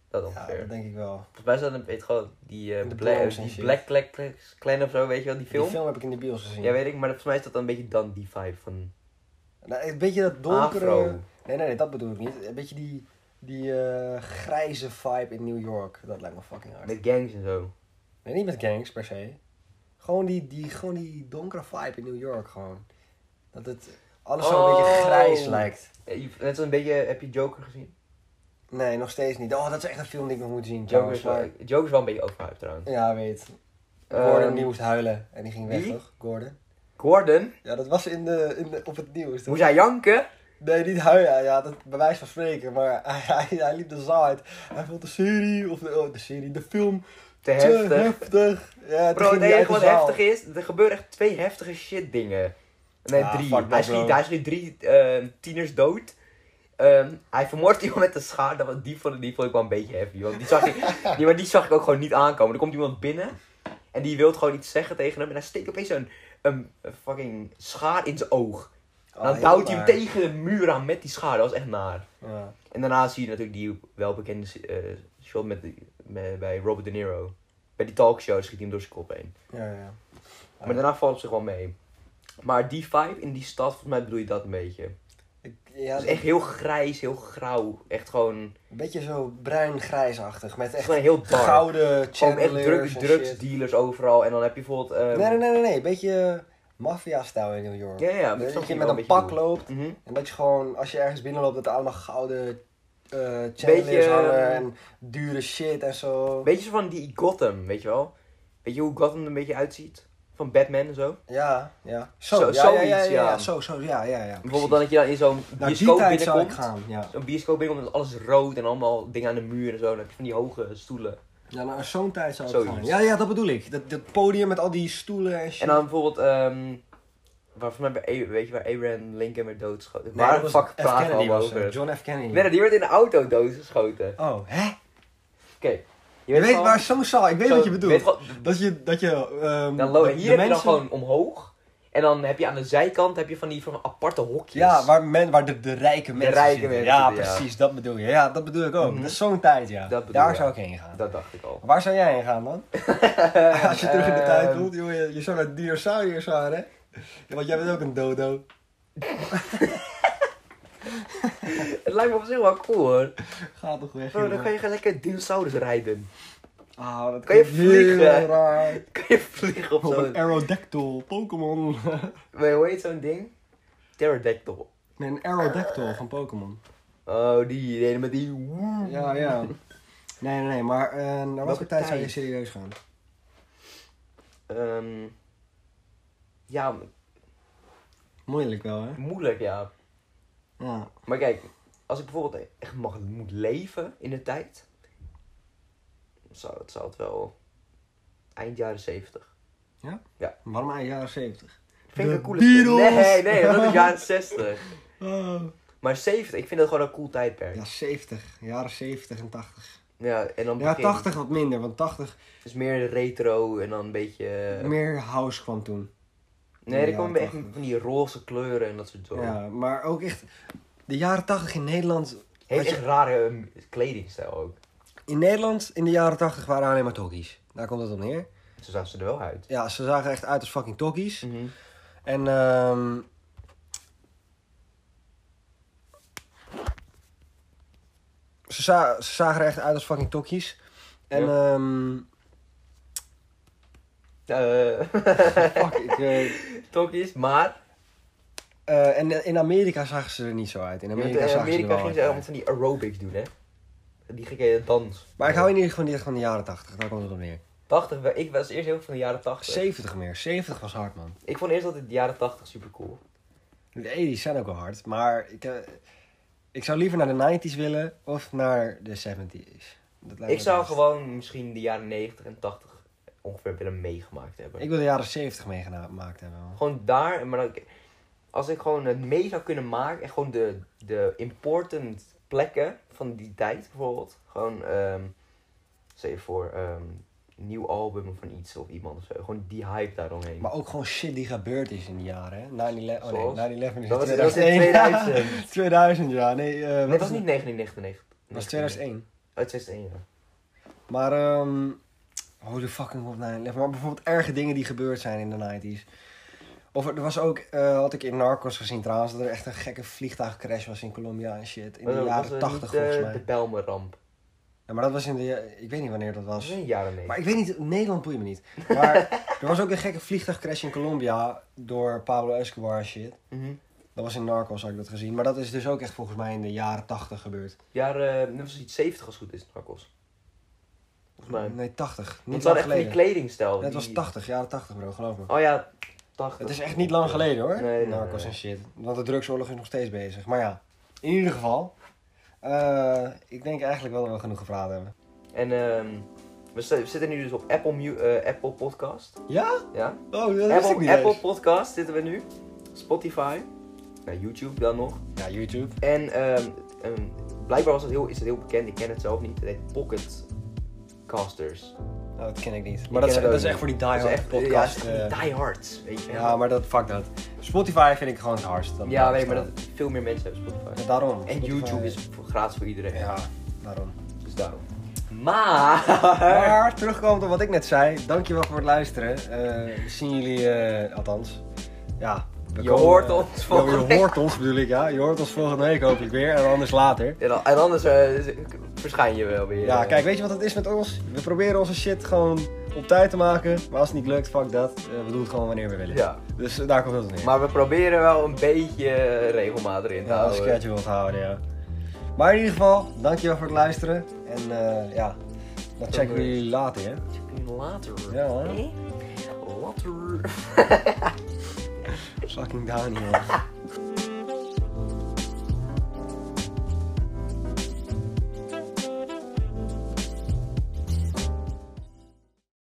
A: dat
B: Ja,
A: ongeveer.
B: dat denk ik wel.
A: Volgens mij is dat een beetje gewoon die, eh
B: De
A: Bla-
B: Bronx en
A: die
B: shit.
A: Black Black Black Clan of zo, weet je wel, die film.
B: Die film heb ik in de bios gezien.
A: Ja, weet ik, maar volgens mij is dat dan een beetje dan die vibe van
B: Nou, een beetje dat donkere...
A: Afro.
B: Nee, nee, nee, dat bedoel ik niet. Een beetje die, die eh, grijze vibe in New York. Dat lijkt me fucking hard.
A: met gangs en zo.
B: Nee, niet met gangs per se. Gewoon die, die, gewoon die donkere vibe in New York gewoon. Dat het alles zo een beetje
A: Oh.
B: grijs lijkt.
A: Eh, je- Net zo'n beetje, heb je Joker gezien?
B: Nee, nog steeds niet. Oh, dat is echt een film die ik nog moet zien.
A: Joker, is
B: Trouwens,
A: wel,
B: maar...
A: Joker is wel een beetje overhyped trouwens.
B: Ja, weet.
A: Ehm,
B: Gordon die moest huilen en die ging weg,
A: wie?
B: toch? Gordon.
A: Gordon,
B: Ja, dat was in de, in de, op het nieuws. toch?
A: moest hij janken?
B: Nee, niet huilen. Ja, dat bij wijze van spreken. Maar hij, hij, hij liep de zaal uit. Hij vond de serie, of de, oh, de serie, de film
A: Te
B: te
A: heftig.
B: heftig. Ja, toen
A: Bro,
B: ging
A: het
B: hij uit
A: enige
B: de
A: wat
B: zaal.
A: heftig is, er gebeuren echt twee heftige shit dingen. Nee,
B: Ah,
A: drie.
B: fuck dat,
A: Hij schiet,
B: bro.
A: hij schiet drie ehm, tieners dood. Ehm, hij vermoordt iemand met een schaar. Dat was, die, vond, die vond ik wel een beetje heavy. Want die zag ik, die, maar die zag ik ook gewoon niet aankomen. Er komt iemand binnen en die wil gewoon iets zeggen tegen hem. En hij steekt opeens een, een, een fucking schaar in zijn oog. En
B: Oh,
A: dan
B: heel
A: duwt hij hem
B: naar.
A: tegen de muur aan met die schaar. Dat was echt naar.
B: Ja.
A: En daarna zie je natuurlijk die welbekende eh, shot met, die- met- bij Robert De Niro. Bij die talkshow schiet hij hem door zijn kop heen.
B: Ja, ja.
A: Maar daarna valt het op zich wel mee. Maar die vibe in die stad, volgens mij bedoel je dat een beetje.
B: Ik,
A: Het
B: ja,
A: is echt heel grijs, heel grauw. Echt gewoon,
B: Een beetje zo bruin-grijsachtig. Met
A: het is
B: echt
A: gewoon heel dark.
B: gouden
A: gewoon echt drug,
B: chandeliers en shit.
A: drugsdealers overal. En dan heb je bijvoorbeeld... ehm,
B: Nee, nee, nee, nee. nee. Een beetje eh, maffia-stijl in New York.
A: Ja, ja, ja, maar ik snap
B: dat
A: wat je
B: je
A: Dus wel een
B: met een
A: beetje
B: pak
A: bedoelt.
B: loopt.
A: mhm.
B: En dat je gewoon, als je ergens binnenloopt, dat er allemaal gouden eh chandeliers
A: Beetje,
B: hangen.
A: eh,
B: En dure shit en zo.
A: Beetje zo van die Gotham, weet je wel? Weet je hoe Gotham er een beetje uitziet? Van Batman en zo.
B: Ja, ja. Zo,
A: Zo-
B: ja, ja,
A: zoiets,
B: ja, ja,
A: ja.
B: ja. Zo, zo, ja, ja, ja.
A: Bijvoorbeeld dan dat je dan in zo'n
B: precies. Naar Nou, die
A: bioscoop
B: tijd zou ik
A: binnenkomt.
B: gaan, ja.
A: Zo'n bioscoop binnenkomt met alles rood en allemaal dingen aan de muur en zo. Dan heb je van die hoge stoelen.
B: Ja, naar zo'n tijd zou ik
A: Zoiets.
B: gaan. Ja, ja, dat bedoel ik. Dat, dat podium met al die stoelen en shit.
A: En dan bijvoorbeeld, ehm waar volgens mij bij, A- weet je waar Abraham Lincoln werd doodgeschoten?
B: Nee,
A: waar
B: dat
A: de
B: was
A: fuck
B: F.
A: praten we
B: Kennedy
A: allemaal
B: was
A: over?
B: het. John F. Kennedy.
A: Nee, nee, die werd in de auto doodgeschoten. Oké,
B: Oh, hè?
A: je
B: Je weet
A: gewoon-
B: waar zo'n zaal, ik weet
A: zo-
B: wat je bedoelt.
A: weet gewoon-
B: Dat je, dat je, ehm
A: dan lo-
B: de-
A: hier heb
B: de
A: je dan
B: mensen-
A: gewoon omhoog. En En dan heb je aan de zijkant heb je van die van aparte hokjes.
B: Ja, waar, men, waar de, de rijke mensen
A: rijke
B: zitten.
A: mensen,
B: ja,
A: ja.
B: precies, dat bedoel je. Ja, dat bedoel ik ook.
A: Mhm.
B: Dat is zo'n tijd, ja.
A: Dat bedoel
B: Daar
A: ik.
B: zou ik heen gaan.
A: Dat dacht ik al.
B: Waar zou jij heen gaan, man? Als je terug in de
A: Ehm,
B: tijd wilt, joh, je, je zou naar dinosauriërs gaan, hè? Ja, want jij bent ook een dodo.
A: Het lijkt me op zich wel cool hoor.
B: Ga toch weg,
A: Bro, Oh, dan kan je gaan lekker dinosaurus rijden.
B: Ah, dat
A: Kan je
B: klinkt heel
A: vliegen?
B: raar.
A: Kan je vliegen op
B: Op
A: zo'n...
B: een Aerodactyl Pokémon.
A: Nee, hoe heet zo'n ding? Pterodactyl.
B: nee, een Aerodactyl van Pokémon.
A: Oh, die reden met die...
B: Ja, ja. Nee, nee, nee, maar eh, naar welke
A: Welke
B: tijd zou je
A: tijd?
B: serieus gaan?
A: Ehm, ja,
B: Moeilijk wel, hè?
A: moeilijk ja.
B: Ja.
A: Maar kijk, als ik bijvoorbeeld echt mag, moet leven in de tijd, zou het, zou het wel eind jaren 70.
B: Waarom aan jaren 70?
A: Vind ik
B: De
A: een coole tijd.
B: Beatles!
A: Nee, nee, dat is jaren 60.
B: Oh.
A: Maar 70, ik vind dat gewoon een cool tijdperk.
B: Ja, 70. Jaren 70 en 80.
A: Ja, en dan
B: Ja,
A: begin.
B: 80 wat minder, want 80
A: Dus meer retro en dan een beetje...
B: meer house kwam toen.
A: nee,
B: Mm, ja,
A: dan kwam echt
B: 80.
A: van die roze kleuren en dat soort dingen.
B: Ja, maar ook echt... De jaren 80 in Nederland...
A: Heeft
B: had je-
A: echt rare ehm, kledingstijl ook.
B: In Nederland in de jaren 80 waren alleen maar tokkies. Daar komt het op neer.
A: Zo zagen ze er wel uit.
B: Ja, ze zagen echt uit als fucking tokkies.
A: Mhm.
B: En ehm ze, za- ze zagen er echt uit als fucking tokkies. En ehm
A: Eh,
B: fuck, ik, eh,
A: Tokkies, maar
B: eh, en in Amerika zagen ze er niet zo uit. In
A: in
B: Amerika,
A: eh, Amerika,
B: zagen ze er wel
A: ging
B: uit
A: ze allemaal
B: uit.
A: van die aerobics doen, hè? Die gekke dans.
B: Maar ik hou in ieder geval niet echt van de jaren 80. Daar komt het op neer.
A: 80, we- ik was eerst heel veel van de jaren 80.
B: 70 meer. 70 was hard, man.
A: Ik vond eerst altijd de jaren 80 super cool.
B: De 80's zijn ook wel hard. Maar ik, eh, ik zou liever naar de 90s willen of naar de 70s. Dat lijkt me
A: Ik
B: het
A: zou
B: best.
A: gewoon misschien de jaren 90 en 80 ongeveer willen meegemaakt hebben.
B: Ik wil de jaren 70 meegemaakt hebben, man.
A: Gewoon daar, maar dan, als ik gewoon het mee zou kunnen maken en gewoon de, de important plekken van die tijd bijvoorbeeld. Gewoon, ehm stel je voor, ehm, een nieuw album van iets of iemand of zo. Gewoon die hype daaromheen.
B: Maar ook gewoon shit die gebeurd is in die jaren. hè? 9-11 oh
A: Zoals?
B: nee, 9-11 is
A: Dat was, dat was in
B: 2001.
A: 2000.
B: 2000, ja. Nee, eh, wat
A: Nee, dat
B: is
A: was niet
B: het?
A: 1999.
B: Dat was 2001.
A: Uit 2001, ja.
B: Maar, ehm hoe de fucking op 9-11. Maar bijvoorbeeld erge dingen die gebeurd zijn in de 90s. Of er was ook, eh, had ik in Narcos gezien trouwens, dat er echt een gekke vliegtuigcrash was in Colombia en shit. In de
A: Dat was,
B: jaren
A: eh,
B: 80
A: niet, eh,
B: volgens mij.
A: De Belmer-ramp.
B: Ja, maar dat was in de, ja- ik weet niet wanneer dat
A: Dat was
B: was.
A: in de jaren
B: Maar
A: 90.
B: ik weet niet, Nederland boeit me niet. Maar er was ook een gekke vliegtuigcrash in Colombia door Pablo Escobar en shit.
A: Mhm.
B: Dat was in Narcos, had ik dat gezien. Maar dat is dus ook echt volgens mij in de jaren 80 gebeurd.
A: Jaren, uh, was iets 70 als het goed is, Narcos. Volgens mij.
B: Nee, 80.
A: Want
B: Niet
A: ze
B: lang
A: hadden echt van die
B: geleden.
A: kledingstijl.
B: Ja, het was
A: die-
B: 80, jaren 80 bro, geloof me.
A: Oh ja, 80.
B: Het is echt niet lang geleden hoor,
A: Nee, nee,
B: Narcos
A: nee.
B: en shit. Want de drugsoorlog is nog steeds bezig. Maar ja, in ieder geval. eh, ik denk eigenlijk wel dat we genoeg gepraat hebben.
A: En ehm, we zi- we zitten nu dus op Apple, Mu- eh, Apple Podcast.
B: Ja?
A: Ja.
B: Oh, dat wist ik niet
A: Apple, Apple
B: eens.
A: Podcast zitten we nu. Spotify. Nou, YouTube dan nog.
B: Ja, YouTube.
A: En ehm, ehm, blijkbaar was het heel, is het heel bekend, ik ken het zelf niet. Het heet Pocket Casters.
B: Oh, dat ken ik niet.
A: ken
B: Maar dat is,
A: het ook
B: dat is
A: niet.
B: echt voor die
A: Dat is
B: diehard
A: echt- Ja, het is
B: podcast.
A: echt van
B: eh,
A: die diehards, weet je.
B: Ja, maar dat, fuck dat. Spotify vind ik gewoon het hardst. dat
A: ja
B: blijft
A: weet je, maar
B: staan.
A: dat, veel meer mensen hebben Spotify.
B: Ja, Daarom.
A: En
B: Spotify-
A: YouTube is voor- gratis voor iedereen.
B: Ja, daarom.
A: Dus daarom. Maar...
B: Maar terugkomend op wat ik net zei, dankjewel voor het luisteren. Eh, we zien jullie, eh, althans, ja. we
A: Je hoort
B: eh,
A: ons
B: ja,
A: volgende
B: Je
A: week.
B: hoort ons bedoel ik, ja. Je hoort ons volgende week hopelijk weer en anders later.
A: En, dan- en anders eh, verschijn je wel weer.
B: Ja,
A: eh.
B: kijk, weet je wat het is met ons? We proberen onze shit gewoon op tijd te maken. Maar als het niet lukt, fuck dat. Eh, we doen het gewoon wanneer we willen.
A: Ja.
B: Dus eh, daar komt het op neer.
A: Maar we proberen wel een beetje eh, regelmatig in te
B: ja, als
A: houden.
B: schedule te houden, ja. Maar in ieder geval, dankjewel voor het luisteren. En eh, ja, dan checken we jullie later, hè.
A: Later.
B: Ja, hoor.
A: Hè? Later.
B: Fucking down, joh.